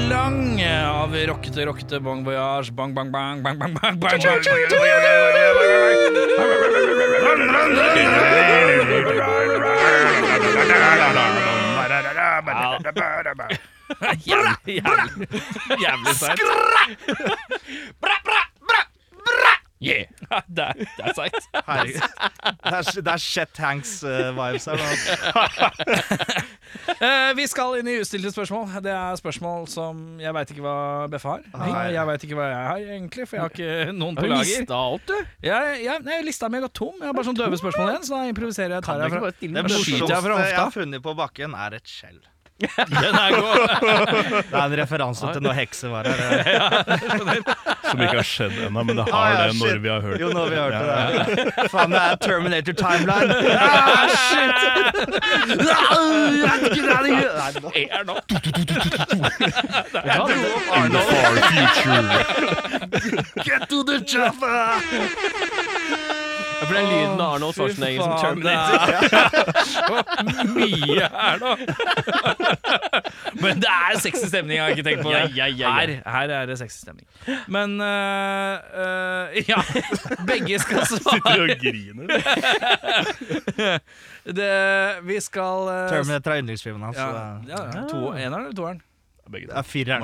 Speaker 1: lang av rockete, rockete Bon Voyage. Bang, bang, bang, bang, bang, bang, bang, bang. Jævlig, jævlig, jævlig seigt. Yeah. Ja, det er, det er seigt.
Speaker 4: Herregud. Det er, det er Chet Hanks-vibes her. nå.
Speaker 1: Eh, vi skal inn i ustilte spørsmål. Det er spørsmål som jeg veit ikke hva Beffe har.
Speaker 4: Nei.
Speaker 1: Jeg veit ikke hva jeg har, egentlig, for jeg har ikke noen på
Speaker 2: Har du
Speaker 1: lager.
Speaker 2: mista alt, du?
Speaker 1: Jeg, jeg, nei, lista mi har gått tom. Jeg har bare sånn døve spørsmål igjen, så da improviserer jeg.
Speaker 2: Kan
Speaker 1: Tar
Speaker 2: du
Speaker 1: jeg
Speaker 2: ikke
Speaker 1: fra.
Speaker 2: bare stille
Speaker 4: Det
Speaker 1: Men
Speaker 2: meg?
Speaker 1: skyter jeg
Speaker 4: morsomste
Speaker 1: fra hofta?
Speaker 4: Mm. jeg har funnet på bakken, er et skjell.
Speaker 1: Den er god.
Speaker 4: Det er en referanse til når hekser var her.
Speaker 3: Som ikke har skjedd ennå, men det
Speaker 4: Ah,
Speaker 3: har
Speaker 4: ja,
Speaker 3: det når
Speaker 4: shit.
Speaker 3: vi har hørt
Speaker 4: Jo,
Speaker 3: det.
Speaker 4: når vi hørte det. Faen, det er Terminator timeline. Ah, shit! Ah, jeg vet ikke hva det gjør. Nei, nå-
Speaker 1: Er nå.
Speaker 2: Ja, det-
Speaker 3: In the far future.
Speaker 4: Get to the chopper!
Speaker 2: For det er lyden av Arnold Schwarzenegger som Terminator.
Speaker 1: Mye her nå. Men det er sexy stemning, jeg har ikke tenkt på det. Her, her er det sexy stemning. Men øh, øh, Ja, begge skal
Speaker 3: Sitter
Speaker 1: svare.
Speaker 3: og griner.
Speaker 1: Det, vi skal øh,
Speaker 4: Terminator er yndlingsfilmen hans.
Speaker 1: ja,
Speaker 4: så det
Speaker 1: ja, ja. To, eneren eller toeren?
Speaker 3: Begge
Speaker 4: er- Det
Speaker 3: to.
Speaker 4: er fireren.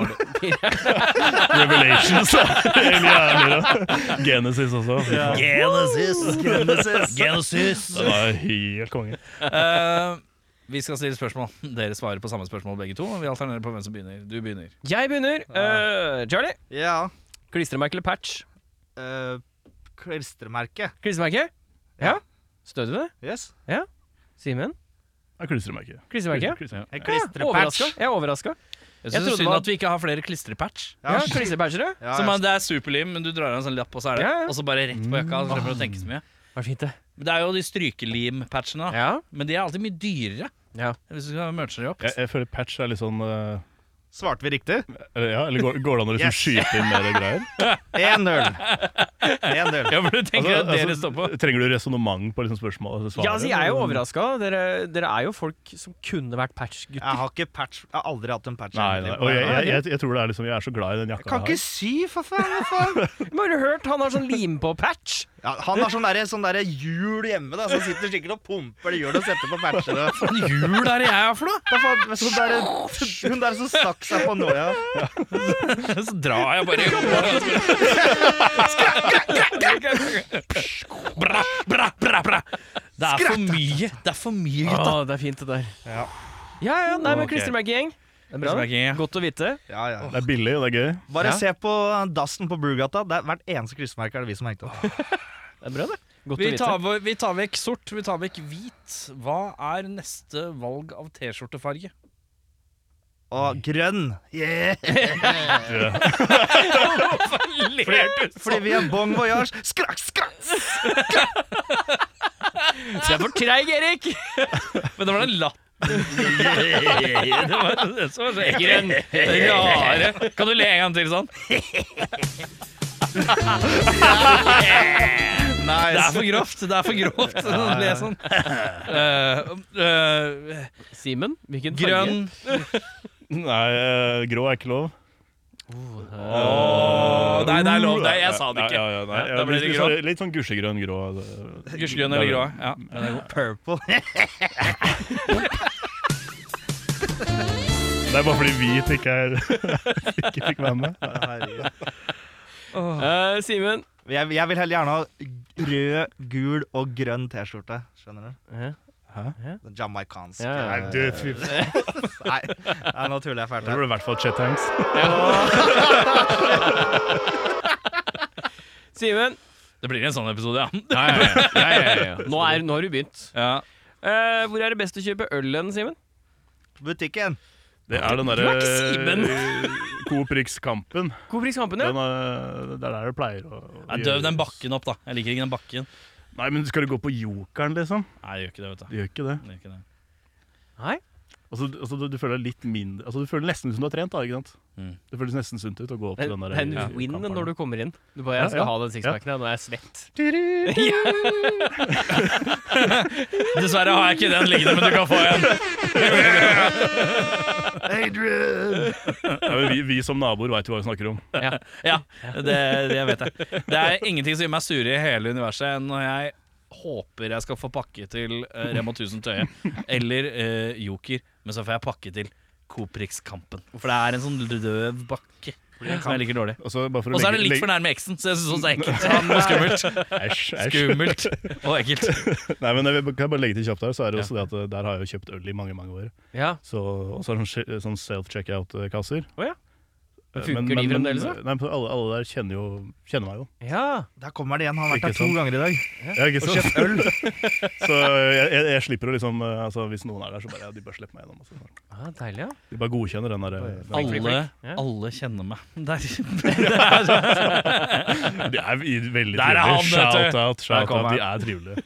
Speaker 3: Revelations. da. Eller jævlig, da. Genesis også. Fy faen.
Speaker 4: Genesis. Genesis.
Speaker 1: Genesis!
Speaker 3: Det var helt konge.
Speaker 1: Eh, vi skal stille spørsmål. Dere svarer på samme spørsmål begge to. Vi alternerer på hvem som begynner. Du begynner.
Speaker 2: Jeg begynner. Eh, Charlie.
Speaker 4: Ja.
Speaker 2: Klistremerke eller patch?
Speaker 4: eh, Klistremerke.
Speaker 2: Klistremerke? Ja. Støter du det?
Speaker 4: Yes.
Speaker 2: Simen?
Speaker 3: Jeg klistrer meg ikke.
Speaker 2: Klistremerke?
Speaker 3: Klistrer-
Speaker 2: Ja,
Speaker 4: Jeg klistrepatch.
Speaker 2: overraska. Jeg er overraska.
Speaker 1: Jeg synes
Speaker 2: Jeg
Speaker 1: det er
Speaker 2: trodde det
Speaker 1: synd
Speaker 2: var-
Speaker 1: at vi ikke har flere klistrepatch.
Speaker 2: Ja, klistrepatcher, ja.
Speaker 4: ja,
Speaker 1: Som
Speaker 4: ja.
Speaker 1: er, det er superlim, men du drar av en sånn lapp, og så er det
Speaker 2: Ja, ja.
Speaker 1: Og så bare rett på jakka. Så slipper du å tenke så mye.
Speaker 2: Var fint, det.
Speaker 1: Men Det er jo de strykelimpatchene, da.
Speaker 2: Ja.
Speaker 1: men de er alltid mye dyrere.
Speaker 2: Ja.
Speaker 1: Hvis du skal merge de opp.
Speaker 3: Jeg, jeg føler patch er litt sånn eh,
Speaker 4: Svarte vi riktig?
Speaker 3: eller, Ja, eller går, går det an å liksom
Speaker 4: Yes.
Speaker 3: skyte inn mer greier?
Speaker 4: 1-0. 1-0.
Speaker 1: Ja, for du tenker
Speaker 3: Altså,
Speaker 1: at dere
Speaker 3: altså,
Speaker 1: står på.
Speaker 3: Trenger du resonnement på liksom spørsmål? altså, svaret?
Speaker 2: Ja, altså, jeg er jo overraska. Dere, dere er jo folk som kunne vært
Speaker 4: Jeg
Speaker 2: patch-gutter.
Speaker 4: har ikke patch Jeg har aldri hatt en patch. i
Speaker 3: Nei, nei.
Speaker 4: mitt liv.
Speaker 3: Og jeg, jeg, jeg, jeg tror det er liksom Jeg er så glad i den
Speaker 4: Jeg
Speaker 3: jakka
Speaker 4: kan ikke sy, for faen! hva faen?
Speaker 2: Men har du hørt? Han har sånn lim-på-patch.
Speaker 4: Ja, han har sånn derre sånn derre hjul hjemme, da, som sitter sikkert og pumper det hjulet og setter på patcher. og-
Speaker 1: Hva faen jul er det jeg har for noe?!
Speaker 4: Hva faen, men sånn derre- Hun der som stakk seg på nåla.
Speaker 1: Så drar jeg bare i hodet. Bra, bra, bra, bra. Det er for mye. Det er for mye,
Speaker 2: Å,
Speaker 1: gutta.
Speaker 2: det er fint, det der.
Speaker 4: Ja.
Speaker 2: ja, ja, nei, men
Speaker 1: Ok.
Speaker 2: klistremerkegjeng. Det er bra. det.
Speaker 1: Smaking, ja.
Speaker 2: Godt å vite.
Speaker 4: Ja, ja.
Speaker 3: Det er billig, og det er gøy.
Speaker 4: Bare
Speaker 2: Ja.
Speaker 4: se på dassen på Brugata. Det er Hvert eneste klistremerke er det vi som har hengt opp.
Speaker 2: Det er bra, det. Godt
Speaker 1: Vi
Speaker 2: å vite.
Speaker 1: tar, vår- vi tar vekk sort, vi tar vekk hvit. Hva er neste valg av T-skjortefarge?
Speaker 4: Og grønn! Yeah.
Speaker 3: Ja.
Speaker 4: Fordi vi er Bon Voyage. Skrakk, skrakk!
Speaker 2: Du er for treig, Erik!
Speaker 1: Men det var den latt det var det som var så ekkelt. Rare. Kan du le en gang til sånn? Det er
Speaker 4: Nice.
Speaker 1: for grovt. Det er for grovt. Le sånn. Eh, eh,
Speaker 2: Simen, hvilken farge?
Speaker 1: grønn.
Speaker 3: Nei, eh, grå er ikke lov.
Speaker 1: Åh, nei, det er lov. Nei, jeg sa det ikke.
Speaker 3: Ja, ja, ja, nei,
Speaker 1: Da ble det
Speaker 3: litt,
Speaker 1: grå.
Speaker 3: litt, litt sånn gusjegrønn grå. det-
Speaker 1: Gusjegrønn eller grå. Ja, den er god.
Speaker 4: Purple.
Speaker 3: Det er bare fordi hvit ikke er Ikke fikk være med.
Speaker 4: Herregud.
Speaker 2: Eh, Simen.
Speaker 4: Jeg, jeg vil heller gjerne ha rød, gul og grønn T-skjorte. Skjønner du? Den jamaicanske.
Speaker 2: Ja, ja, ja.
Speaker 3: Du, fy faen.
Speaker 4: Nei, nei, nå tuller jeg fælt.
Speaker 3: Det
Speaker 4: her.
Speaker 3: ble i hvert fall Chet Hanks.
Speaker 2: Simen.
Speaker 1: Det blir en sånn episode, ja.
Speaker 2: Nå, er, nå har du begynt.
Speaker 1: ja.
Speaker 2: Eh, hvor er det best å kjøpe øl hen, Simen?
Speaker 4: Butikken.
Speaker 3: Det er den
Speaker 2: Du er ikke
Speaker 1: eh,
Speaker 2: Simen.
Speaker 3: derre Coop Rix-kampen.
Speaker 2: Kobrix Kampen, ja.
Speaker 3: Den er- Det er der det pleier å å
Speaker 1: Nei,
Speaker 3: gjøres.
Speaker 1: Døv den bakken opp, da. Jeg liker ikke den bakken.
Speaker 3: Nei, men skal du gå på Jokeren, liksom?
Speaker 1: Nei, jeg gjør ikke det, vet du.
Speaker 3: Du gjør ikke det.
Speaker 1: Jeg gjør ikke det.
Speaker 2: Nei.
Speaker 3: Altså, altså, du, du føler deg litt mindre altså, Du føler nesten ut som du har trent. da, ikke sant?
Speaker 1: Mm.
Speaker 3: Det føles nesten sunt ut å gå opp til
Speaker 2: Den,
Speaker 3: den der
Speaker 2: den win-en når du kommer inn. Du bare,
Speaker 3: Ja,
Speaker 2: jeg skal
Speaker 3: ja.
Speaker 2: ha den sixpacken, jeg. Nå er jeg svett.
Speaker 1: Dessverre har jeg ikke den liggende, men du kan få en.
Speaker 4: Adrian!
Speaker 3: ja, men vi, vi som naboer veit jo hva vi snakker om.
Speaker 2: Ja.
Speaker 1: Ja, det, det vet jeg. Det er ingenting som gjør meg surere i hele universet enn når jeg håper jeg skal få pakke til eh, Rema 1000 Tøye eller eh, Joker, men så får jeg pakke til Coprix-kampen. For det er en sånn løv bakke som jeg liker dårlig.
Speaker 3: Og så Altså, bare for å
Speaker 1: Og så er det
Speaker 3: legge-
Speaker 1: litt for nærme eksen, så jeg syns også det er ekkelt og skummelt.
Speaker 3: legge- Æsj, æsj.
Speaker 1: Skummelt og ekkelt.
Speaker 3: Nei, men jeg vil- kan jeg bare legge til kjapt her, så er det også det at eh, der har jeg jo kjøpt øl i mange, mange år.
Speaker 2: ja.
Speaker 3: Så, og så er det sånn, sånn self-checkout-kasser.
Speaker 2: Å ja.
Speaker 3: Eh,
Speaker 2: Funker de fremdeles, da?
Speaker 3: Nei, men alle, alle der kjenner jo Kjenner meg jo.
Speaker 2: ja.
Speaker 4: Der kommer det igjen. Han har vært
Speaker 3: Ikke
Speaker 4: der to
Speaker 3: sant.
Speaker 4: ganger i dag.
Speaker 3: Ja, ikke
Speaker 4: Og
Speaker 3: sant?
Speaker 4: kjøpt øl.
Speaker 3: Så eh, jeg, jeg, jeg slipper å liksom eh, altså, Hvis noen er der, så bare ja, de bare slipper meg gjennom. Altså.
Speaker 2: Ah, deilig, ja.
Speaker 3: De bare godkjenner den der. eh,
Speaker 2: Flink, flink,
Speaker 1: Alle,
Speaker 2: flink. Ja.
Speaker 1: alle kjenner meg. Der,
Speaker 3: De er i- veldig
Speaker 1: Der er han,
Speaker 3: trivelige.
Speaker 1: vet du.
Speaker 3: Shout-out,
Speaker 2: Der kom
Speaker 3: shout-out.
Speaker 2: han.
Speaker 3: De er trivelige.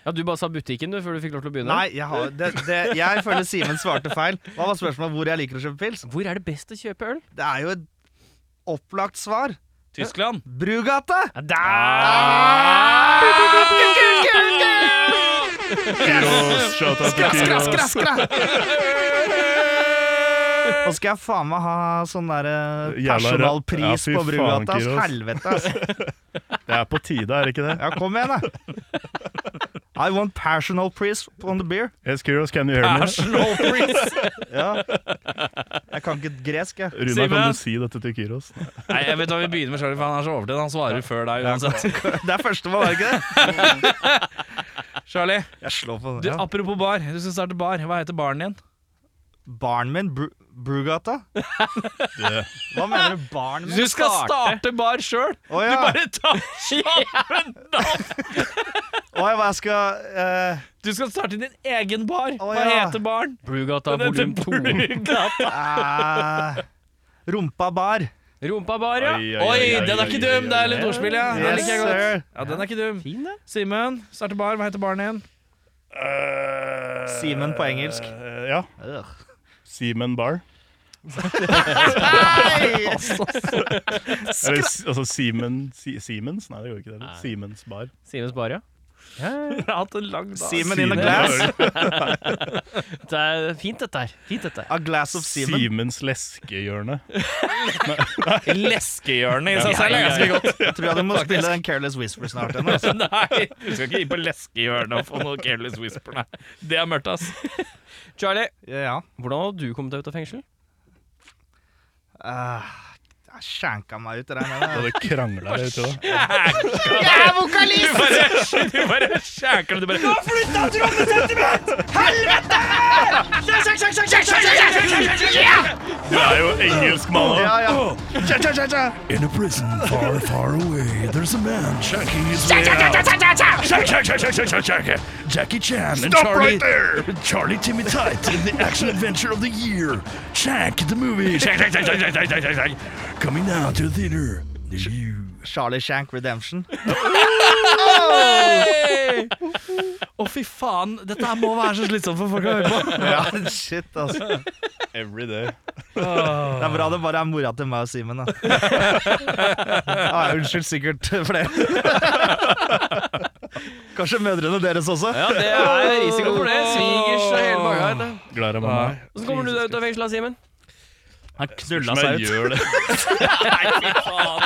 Speaker 2: ja, du bare sa butikken du før du fikk lov til å begynne.
Speaker 4: Nei, jeg, har, det, det, jeg føler Simen svarte feil. Hva var spørsmålet hvor jeg liker å kjøpe pils?
Speaker 2: Hvor er det best å kjøpe øl?
Speaker 4: Det er jo et opplagt svar.
Speaker 1: Tyskland.
Speaker 4: Brugata!
Speaker 2: Ja,
Speaker 1: Ah!
Speaker 2: der!
Speaker 3: Kyros, shout-out til
Speaker 4: Skra, skra,
Speaker 3: Kyros.
Speaker 4: skra! Og skal jeg faen meg ha sånn derre
Speaker 3: Jævla rød. Ja,
Speaker 4: personalpris
Speaker 3: fy
Speaker 4: på Brugata.
Speaker 3: faen, Kyros.
Speaker 4: Helvete, ass.
Speaker 3: Det er på tide, er det ikke det?
Speaker 4: Ja, kom igjen, da. I want personal pris on the beer.
Speaker 3: Yes, Kyros, can you hear me?
Speaker 1: Arsenal Prince.
Speaker 4: Ja. Jeg kan ikke gresk, jeg.
Speaker 3: Runa,
Speaker 1: Simen.
Speaker 3: kan du si dette til Kyros?
Speaker 1: Nei, jeg vet hva vi begynner med, Charlie, for han er så overtatt. Han svarer før deg uansett.
Speaker 4: Det er førstemann, er det ikke det?
Speaker 1: Charlie,
Speaker 4: Jeg slår på
Speaker 1: du,
Speaker 4: den. Ja.
Speaker 1: apropos bar. Du skal starte bar. Hva heter baren din?
Speaker 4: Barn min, Bru- Brugata?
Speaker 3: Det-
Speaker 4: Hva mener du, barn min?
Speaker 1: Du skal starte bar sjøl!
Speaker 4: Å
Speaker 1: Du
Speaker 4: ja.
Speaker 1: bare tar kjappen navn!
Speaker 4: Å, jeg bare skal eh,
Speaker 1: Du skal starte din egen bar. Hva
Speaker 4: Å, ja.
Speaker 1: heter baren?
Speaker 2: Brugata volum 2.
Speaker 1: Brugata.
Speaker 4: eh, Rumpa bar.
Speaker 2: Rumpa bar, ja.
Speaker 3: Oi, oi, oi,
Speaker 1: Oi,
Speaker 3: oi,
Speaker 1: den er ikke
Speaker 3: oi,
Speaker 1: dum!
Speaker 3: oi,
Speaker 1: Det er
Speaker 3: oi.
Speaker 1: litt ordspill, ja. Den
Speaker 4: Yes,
Speaker 1: liker jeg godt.
Speaker 4: sir.
Speaker 1: Ja, den er ikke dum.
Speaker 2: Fin, det.
Speaker 1: Simen, starte bar. Hva heter baren din?
Speaker 3: Eh,
Speaker 4: Simen på engelsk.
Speaker 3: eh, Ja.
Speaker 4: Ugh.
Speaker 3: Simen Bar.
Speaker 4: Nei!
Speaker 3: Eller s- altså Simen si, Siemens? Nei, det går ikke. det eller? Siemens Bar.
Speaker 2: Simens bar, ja.
Speaker 1: Jeg har hatt en lang dag.
Speaker 4: Simen in a
Speaker 3: Simen
Speaker 4: glass.
Speaker 3: Bar.
Speaker 2: Det er fint, dette her. Fint, dette her.
Speaker 4: A glass of semen.
Speaker 3: Siemens leskehjørne.
Speaker 1: Leskehjørnet i seg selv er ganske godt.
Speaker 4: Jeg tror jeg du må spille den Careless Whisper snart. Ennå. altså.
Speaker 1: Nei, du skal ikke inn på leskehjørnet og få noe Careless Whisper, nei. Det er mørkt, ass.
Speaker 2: Charlie,
Speaker 4: Ja.
Speaker 2: hvordan har du kommet deg ut av fengsel?
Speaker 4: Eh, jeg skjenka meg ut, regner jeg
Speaker 3: Og
Speaker 4: med.
Speaker 3: det krangla der ute òg.
Speaker 4: Jeg er vokalist!
Speaker 1: Du bare skjæker det, du bare
Speaker 3: Du er jo engelsk, mann.
Speaker 4: Ja, ja. Tja, tja, tja, tja.
Speaker 6: In a prison far, far away, there's a man shaking his way out. Shake, shake, shake, shake, shake, shake, shake. Jackie Chan and
Speaker 3: Stop
Speaker 6: Charlie,
Speaker 3: right there!
Speaker 6: Charlie Timmy Tight in the action adventure of the year. Shank the movie. Shake, shake, shake, shake, shake, shake, shake, shake. Coming now to the theater. near you.
Speaker 4: Charlie Shank Redemption.
Speaker 1: Å, fy faen. Dette her må være så slitsomt for folk å høre på.
Speaker 4: Ja, shit, altså.
Speaker 3: Every day.
Speaker 4: Det er bra det bare er mora til meg og Simen, da. Ah, unnskyld sikkert for det. Kanskje mødrene deres også?
Speaker 2: Ja, det er risiko for det. Svigers og hele pakka. vet du.
Speaker 3: Glad jeg var med.
Speaker 2: Hvordan kommer du deg ut av fengsel, da, Simen?
Speaker 1: Han
Speaker 3: Men
Speaker 1: knulla
Speaker 3: jeg gjør det.
Speaker 1: Nei, fy faen.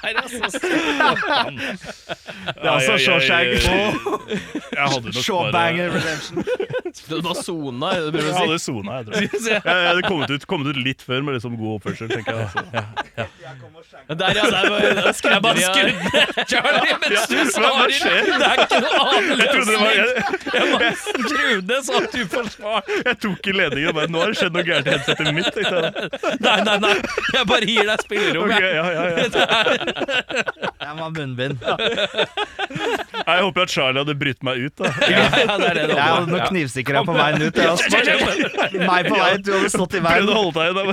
Speaker 1: Nei, det er så satan.
Speaker 4: Det
Speaker 3: Ai,
Speaker 4: er altså
Speaker 3: ai, ai,
Speaker 4: Shawshank
Speaker 3: ai.
Speaker 4: og
Speaker 3: Jeg hadde nok
Speaker 4: Shawbanger
Speaker 3: bare
Speaker 4: Redemption.
Speaker 2: Du bare sona, er det det du
Speaker 3: Jeg
Speaker 2: prøver å si.
Speaker 3: hadde sona, jeg tror. Jeg, jeg hadde kommet ut, kommet ut litt før med liksom god oppførsel, tenker jeg. Altså.
Speaker 2: Der, ja. Der, var- der
Speaker 1: Jeg
Speaker 2: skrudde
Speaker 1: bare
Speaker 2: vi av.
Speaker 1: skrudde ned Charlie mens du svarer. Det er ikke noe annen
Speaker 3: Jeg, trodde
Speaker 1: løsning.
Speaker 3: det var, jeg,
Speaker 1: Jeg bare skrudde ned sånn at du får svar.
Speaker 3: jeg tok i ledningen og bare Nå har det skjedd noe gærent i headsetet mitt, tenkte jeg.
Speaker 1: Nei, nei, nei. Jeg bare gir deg spillerom,
Speaker 3: Ok,
Speaker 1: jeg.
Speaker 3: ja, ja, ja.
Speaker 4: Jeg må ha munnbind.
Speaker 3: Nei, Jeg håper at Charlie hadde brytt meg ut, da.
Speaker 1: Ja, ja, det er det det
Speaker 4: Jeg hadde
Speaker 1: holder
Speaker 4: nok knivstikker her på veien ut. Jeg hadde spart meg på veien, du hadde stått i
Speaker 3: Prøvde
Speaker 4: veien.
Speaker 3: å holde deg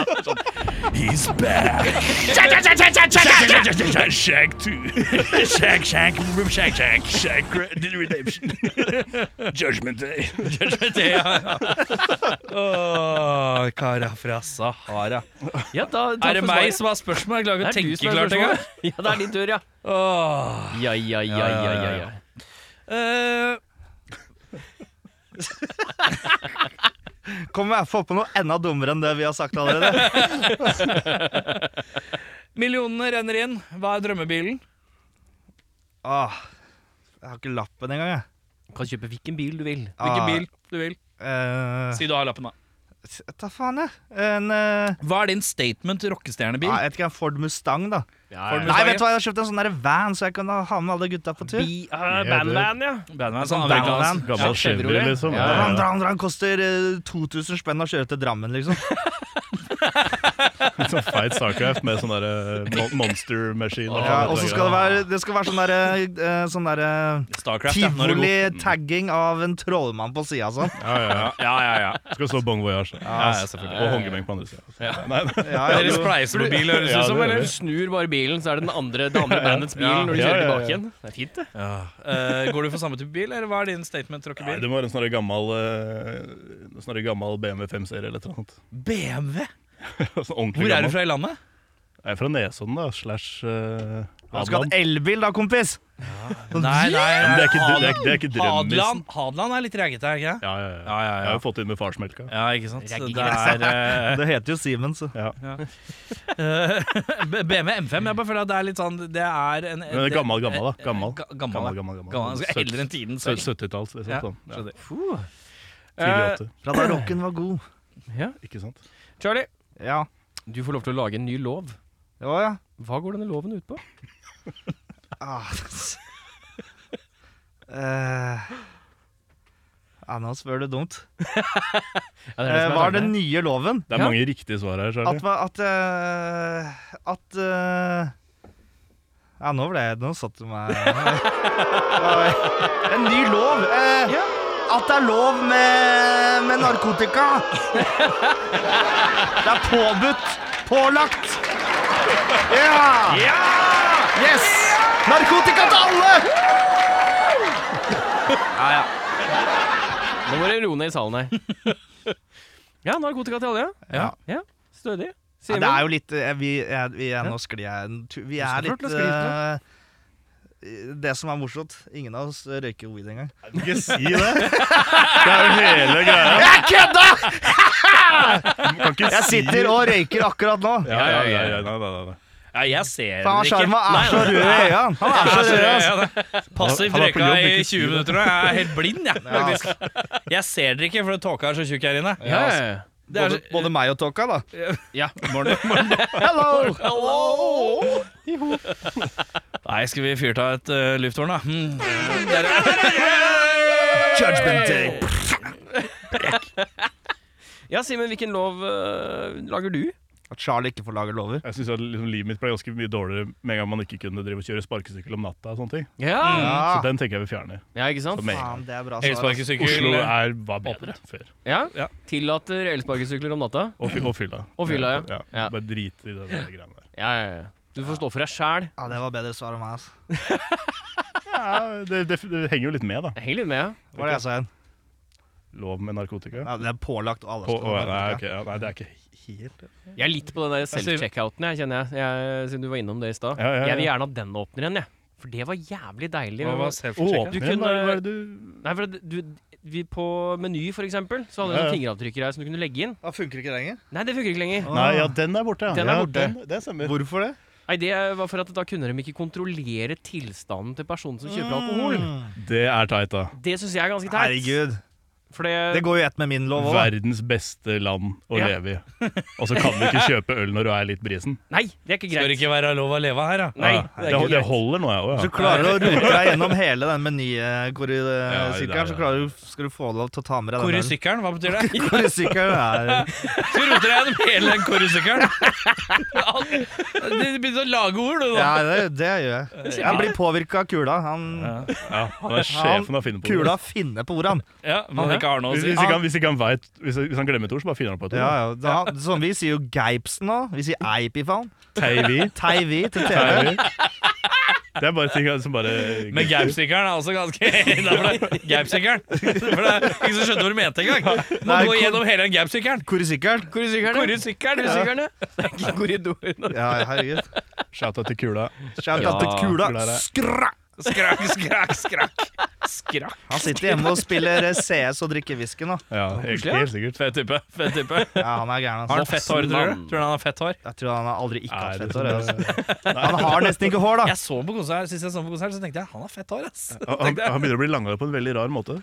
Speaker 3: i det.
Speaker 6: He's back.
Speaker 3: Shag 2.
Speaker 6: Shag, shag, shag, shag, shag, shag, the redemption. Judgment day.
Speaker 1: Det, ja, ja. Åh, Kara fra Sahara.
Speaker 2: Ja, da, takk
Speaker 1: Er det
Speaker 2: for
Speaker 1: meg
Speaker 2: svaret.
Speaker 1: som har spørsmål? Jeg klarer
Speaker 2: Det
Speaker 1: ikke å
Speaker 2: er du som
Speaker 1: tenke
Speaker 2: har
Speaker 1: klart
Speaker 2: spørsmål.
Speaker 1: engang.
Speaker 2: Ja, det er din tur, ja.
Speaker 1: Åh.
Speaker 2: Ja, ja, ja, ja, ja, ja.
Speaker 1: Eh,
Speaker 4: Kom jeg får på noe enda dummere enn det vi har sagt allerede.
Speaker 1: millionene renner inn. Hva er drømmebilen?
Speaker 4: Åh, Ah, jeg har ikke lappen engang, jeg.
Speaker 2: Kan kjøpe hvilken bil du vil.
Speaker 1: Hvilken
Speaker 4: Ah,
Speaker 1: bil du vil?
Speaker 4: eh,
Speaker 1: Si du har lappen, da.
Speaker 4: ta faen, jeg. En eh,
Speaker 1: Hva er din statement til rockestjernebil?
Speaker 4: ja, jeg vet ikke, en Ford Mustang, da.
Speaker 1: Får du med
Speaker 4: Nei, vet du hva, jeg har kjøpt en sånn der van, så jeg kan ha med alle gutta på tur.
Speaker 2: Bi- eh,
Speaker 3: det-
Speaker 2: Bandvan, ja.
Speaker 1: slag? Bandman, sånn
Speaker 4: Sånn
Speaker 1: amerikansk.
Speaker 4: bandvan.
Speaker 2: Ja,
Speaker 3: Gammel Chevrolet,
Speaker 2: Chevrolet.
Speaker 3: liksom.
Speaker 2: Ja,
Speaker 4: Dran, dran, dran koster eh, 2000 spenn å kjøre til Drammen, liksom.
Speaker 3: Sånn feit Starcraft med sånn derre mon- monster machine. og
Speaker 4: Ja,
Speaker 3: sånn
Speaker 4: og så skal det være, det skal være sånn derre eh, sånn der, eh,
Speaker 1: Starcraft, ja. Når det går.
Speaker 4: tivoli-tagging av en trollmann på sida sånn.
Speaker 3: Ja, ja, ja.
Speaker 1: Ja, ja, ja.
Speaker 3: Det skal stå Bon Voyage.
Speaker 1: ja, ja selvfølgelig.
Speaker 3: Og Hongemeng på andre sida.
Speaker 4: Ja, ja,
Speaker 1: Dere
Speaker 4: du-
Speaker 1: spleiser på bil, høres det
Speaker 3: Ja,
Speaker 1: ut som,
Speaker 3: det gjør
Speaker 1: eller?
Speaker 2: Du snur bare bilen, så er det den andre, det andre bandets bil
Speaker 1: Ja,
Speaker 2: når du
Speaker 3: ja,
Speaker 2: kjører
Speaker 3: ja, ja.
Speaker 2: tilbake igjen. Det er fint, det.
Speaker 1: Eh, går du for samme type bil, eller hva er din statement til
Speaker 3: Nei,
Speaker 1: rockebil?
Speaker 3: det må være en sånn der gammel, eh, sånn der gammel BMW 5-serie eller et eller annet.
Speaker 1: BMW?
Speaker 3: Sånn ordentlig
Speaker 1: Hvor er du
Speaker 3: gammel.
Speaker 1: fra i landet?
Speaker 3: Jeg er fra Nesodden, da. Slash eh,
Speaker 4: Du skal ha
Speaker 3: Hadeland.
Speaker 4: en elbil da, kompis!
Speaker 1: Nei, nei,
Speaker 3: Ja, Men det er ikke, det er, det er ikke drømmisen.
Speaker 1: Hadeland, Hadeland er litt raggete, er det ikke det?
Speaker 3: Ja, ja, ja.
Speaker 1: Ja, ja,
Speaker 3: Jeg
Speaker 1: ja.
Speaker 3: har jo fått inn med farsmelka.
Speaker 1: Ja, ikke sant?
Speaker 2: Raggete.
Speaker 1: Det er eh,
Speaker 4: Det heter jo Simen, så.
Speaker 1: eh, BMW M5. Jeg bare føler at det er litt sånn Det er en
Speaker 3: Men det er gammel, gammel, da. Gammel.
Speaker 1: Ga- gammel, ja.
Speaker 3: Gammel, gammel,
Speaker 1: Gammel,
Speaker 3: gammel.
Speaker 1: altså, Eldre enn tiden
Speaker 3: Sø-
Speaker 1: selv.
Speaker 3: 70-talls, liksom.
Speaker 1: Ja,
Speaker 3: Sånn. Ja.
Speaker 1: skjønner.
Speaker 2: Puh.
Speaker 3: Tidlig
Speaker 2: Eh,
Speaker 3: 80,
Speaker 4: Fra da rocken var god.
Speaker 3: ikke sant?
Speaker 2: Charlie,
Speaker 4: Ja.
Speaker 2: du får lov til å lage en ny lov.
Speaker 4: Ja, ja.
Speaker 2: Hva går denne loven ut på?
Speaker 4: Ah. Eh, ja, nå spør du dumt.
Speaker 2: Ja, det er det
Speaker 4: Eh,
Speaker 2: som er
Speaker 4: hva er den
Speaker 2: tanken her.
Speaker 4: nye loven?
Speaker 3: Det er
Speaker 2: Ja.
Speaker 3: mange riktige svar her,
Speaker 4: At
Speaker 3: Charlie.
Speaker 4: hva- At eh, At eh, Ja, nå ble jeg Nå satte du meg En ny lov! eh, At det er lov med, med narkotika! Det er påbudt! Pålagt! Ja! Yes! Narkotika til alle!
Speaker 2: Nå må du roe ned i salen her. Ja, narkotika til alle, ja. ja. Stødig.
Speaker 4: Ja,
Speaker 2: Simen?
Speaker 4: det er jo litt eh, Vi, er- vi er, nå sklir jeg en tu- Vi er
Speaker 2: skal
Speaker 4: litt
Speaker 2: klart det sklir
Speaker 4: eh, Det som er morsomt Ingen av oss røyker weed engang.
Speaker 3: Ikke si det! Det er jo hele greia.
Speaker 4: Jeg kødda!
Speaker 3: Du kan ikke
Speaker 4: Jeg
Speaker 3: si
Speaker 4: sitter og røyker akkurat nå.
Speaker 3: ja, ja, ja, ja, nei, nei, nei, nei.
Speaker 1: Ja, jeg ser
Speaker 4: Faen,
Speaker 1: den
Speaker 4: Sjarma er så rød i øynene. Han er
Speaker 1: Jeg
Speaker 4: så rød.
Speaker 1: ser-
Speaker 4: Altså.
Speaker 1: ja, det. Passivt
Speaker 3: Han er på
Speaker 1: røyka
Speaker 3: jobb,
Speaker 1: i
Speaker 3: ikke si
Speaker 1: 20
Speaker 3: det.
Speaker 1: minutter, og jeg er helt blind, jeg.
Speaker 4: Ja.
Speaker 1: Faktisk. Jeg ser dere ikke, for tåka er så tjukk her inne.
Speaker 2: ja, altså. ja, ja.
Speaker 1: Det er
Speaker 4: Både,
Speaker 1: så-
Speaker 4: både meg og Tokka, da.
Speaker 2: ja. Morgen.
Speaker 4: Hello!
Speaker 1: Nei, skal vi fyrt av et eh, lufthorn, da? Mm.
Speaker 6: Judgment day.
Speaker 2: Ja, Simen, hvilken lov øh, lager du?
Speaker 4: At Charlie ikke får lage lover.
Speaker 3: Jeg synes at liksom, Livet mitt ble ganske mye dårligere med en gang man ikke kunne drive og kjøre sparkesykkel om natta. og sånne ting
Speaker 2: Ja,
Speaker 3: Mm. Så
Speaker 4: Ja,
Speaker 3: den tenker jeg vil fjerne.
Speaker 2: ja ikke sant?
Speaker 3: Så med en gang.
Speaker 4: Faen, det er bra altså. svar. ass.
Speaker 1: Elsparkesykkel.
Speaker 3: Oslo er, var bedre før.
Speaker 2: Ja.
Speaker 1: Ja.
Speaker 2: Tillater elsparkesykler om natta?
Speaker 3: Og, fy- og fylla.
Speaker 2: Og fylla, ja. Ja.
Speaker 3: Bare drit i det der greiene der.
Speaker 2: Ja, ja, ja. Du får stå for deg sjæl.
Speaker 4: Ja, det var bedre svar enn meg. altså. ass.
Speaker 3: Ja, det, det, det henger jo litt med, da.
Speaker 2: Heng litt med, ja.
Speaker 4: Hva var det jeg sa igjen?
Speaker 3: Lov med narkotika.
Speaker 4: Ja, det er pålagt, og alle
Speaker 3: På,
Speaker 4: skal
Speaker 3: å,
Speaker 4: ha
Speaker 3: nei,
Speaker 4: narkotika.
Speaker 3: ok, ja, nei, det er ikke helt
Speaker 2: Jeg er litt på den der self-checkouten, jeg, kjenner jeg. jeg. Siden du var innom det i stad.
Speaker 3: Ja, ja, ja.
Speaker 2: Jeg vil gjerne at den åpner igjen, jeg. For det var jævlig deilig.
Speaker 1: Hva var
Speaker 3: Åpne
Speaker 1: self-checken?
Speaker 2: Du
Speaker 3: den,
Speaker 2: kunne-
Speaker 3: hva er det du
Speaker 2: Nei, for det- du, vi på Meny, for eksempel, så hadde vi
Speaker 3: Ja, ja.
Speaker 2: sånn fingeravtrykker her som du kunne legge inn.
Speaker 4: Ja, funker ikke det lenger?
Speaker 2: Nei, det funker ikke lenger.
Speaker 4: Ah.
Speaker 3: Nei, ja, den er borte. Ja.
Speaker 2: Den er
Speaker 3: Ja,
Speaker 2: borte.
Speaker 3: den, det stemmer.
Speaker 4: Hvorfor det?
Speaker 2: Nei, det var for at da kunne de ikke kontrollere tilstanden til personen som kjøper alkohol.
Speaker 3: Det er tight, da.
Speaker 2: Det syns jeg er ganske teit.
Speaker 4: Herregud.
Speaker 2: For det,
Speaker 4: Det går jo i ett med min lov òg.
Speaker 3: Verdens beste land å
Speaker 2: Ja.
Speaker 3: leve i. Og så kan du ikke kjøpe øl når du er litt brisen.
Speaker 2: Nei, det er ikke
Speaker 1: Skal det
Speaker 2: greit.
Speaker 1: ikke være lov å leve her, da?
Speaker 2: Nei,
Speaker 3: Ja,
Speaker 2: det
Speaker 3: Ah, det,
Speaker 2: er ikke
Speaker 3: det
Speaker 2: greit.
Speaker 3: holder nå, jeg
Speaker 4: Hvis du
Speaker 3: òg.
Speaker 4: klarer å rote deg gjennom hele den
Speaker 3: Ja, det er
Speaker 4: menysirkelen, så
Speaker 3: det.
Speaker 4: klarer du, skal du få lov til å ta med deg den. ølen.
Speaker 1: Korrysykkelen, hva betyr det?
Speaker 4: Korrysykkelen er
Speaker 1: Så roter jeg gjennom hele den korrysykkelen. Du begynner å lage ord, du, da.
Speaker 4: Ja, det, det gjør jeg. Jeg blir påvirka av kula. Han,
Speaker 3: Ja. Ja, han er sjefen av å finne på
Speaker 4: kula
Speaker 3: ord.
Speaker 4: finner på ordene.
Speaker 1: Ja, men han ikke har noe å
Speaker 3: Hvis,
Speaker 1: si.
Speaker 3: hvis, ikke han, hvis, ikke han vet, hvis, hvis han glemmer et ord, så bare finner han på et ord.
Speaker 4: Ja, ja. Da, sånn, vi sier jo geipsen nå. Vi sier eipifan.
Speaker 3: Teivi.
Speaker 4: Teivi til TV.
Speaker 3: Teivi. Det er bare ting som bare
Speaker 1: Men gaupsykkelen er også ganske innafor. Gaupsykkelen. For det er ikke som skjønte hva du mente engang. Må
Speaker 4: Nei,
Speaker 1: gå
Speaker 4: kor-
Speaker 1: gjennom hele den gaupsykkelen.
Speaker 4: Korrysykkelen.
Speaker 2: Korrysykkelen. Korrysykkelen, ja. Det er ikke korridoren.
Speaker 4: Ja, herregud.
Speaker 3: Shout-out til kula.
Speaker 4: Shout
Speaker 2: Ja,
Speaker 4: out til kula.
Speaker 3: kula der.
Speaker 4: Skra!
Speaker 1: Skrakk, skrakk, skrakk. Skrakk.
Speaker 4: Han sitter hjemme og spiller eh, CS og drikker whisky nå.
Speaker 3: Ja, helt,
Speaker 2: Koselig, ja.
Speaker 3: helt sikkert.
Speaker 1: Fett type. fett type Har
Speaker 4: Ja, han er gæren.
Speaker 1: han
Speaker 4: Altså.
Speaker 1: fett hår, tror du? Tror du han har fett hår?
Speaker 4: Jeg tror han har aldri ikke
Speaker 3: Er
Speaker 4: hatt
Speaker 3: det
Speaker 4: fett hår.
Speaker 3: sånn-
Speaker 4: Altså. Han har nesten ikke hår, da.
Speaker 1: Jeg så på konsert, Sist jeg så på konsert, så tenkte jeg han har fett hår, ass.
Speaker 3: Han, han han begynner å bli langere på en veldig rar måte.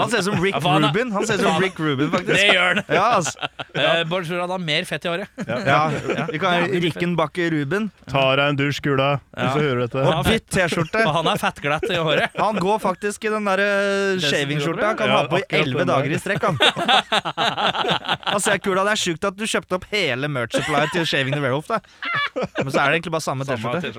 Speaker 4: Han ser ut som Rick
Speaker 1: Ja, faen, da.
Speaker 4: Rubin. Han ser ut som
Speaker 1: Faen.
Speaker 4: Rick Rubin,
Speaker 1: Det
Speaker 4: faktisk.
Speaker 1: gjør han.
Speaker 4: Ja, altså.
Speaker 1: Eh, Bård tror han har mer fett i håret.
Speaker 4: Ja, vi kan Rickenbakke Ruben.
Speaker 3: Ta deg en dusj, kula, hvis du hører dette.
Speaker 4: Og hvitt T-skjorte.
Speaker 1: Og han er fettglatt i håret.
Speaker 4: Han går faktisk i den der eh, shavingskjorta. Han kan
Speaker 3: Ja,
Speaker 4: ha på i
Speaker 3: akkurat den
Speaker 4: elleve
Speaker 3: der.
Speaker 4: dager i strekk, han. Han ser kula, Det er sjukt at du kjøpte opp hele merch supplyet til Shaving the Werewolf. Da. Men så er det egentlig bare samme T-skjorte.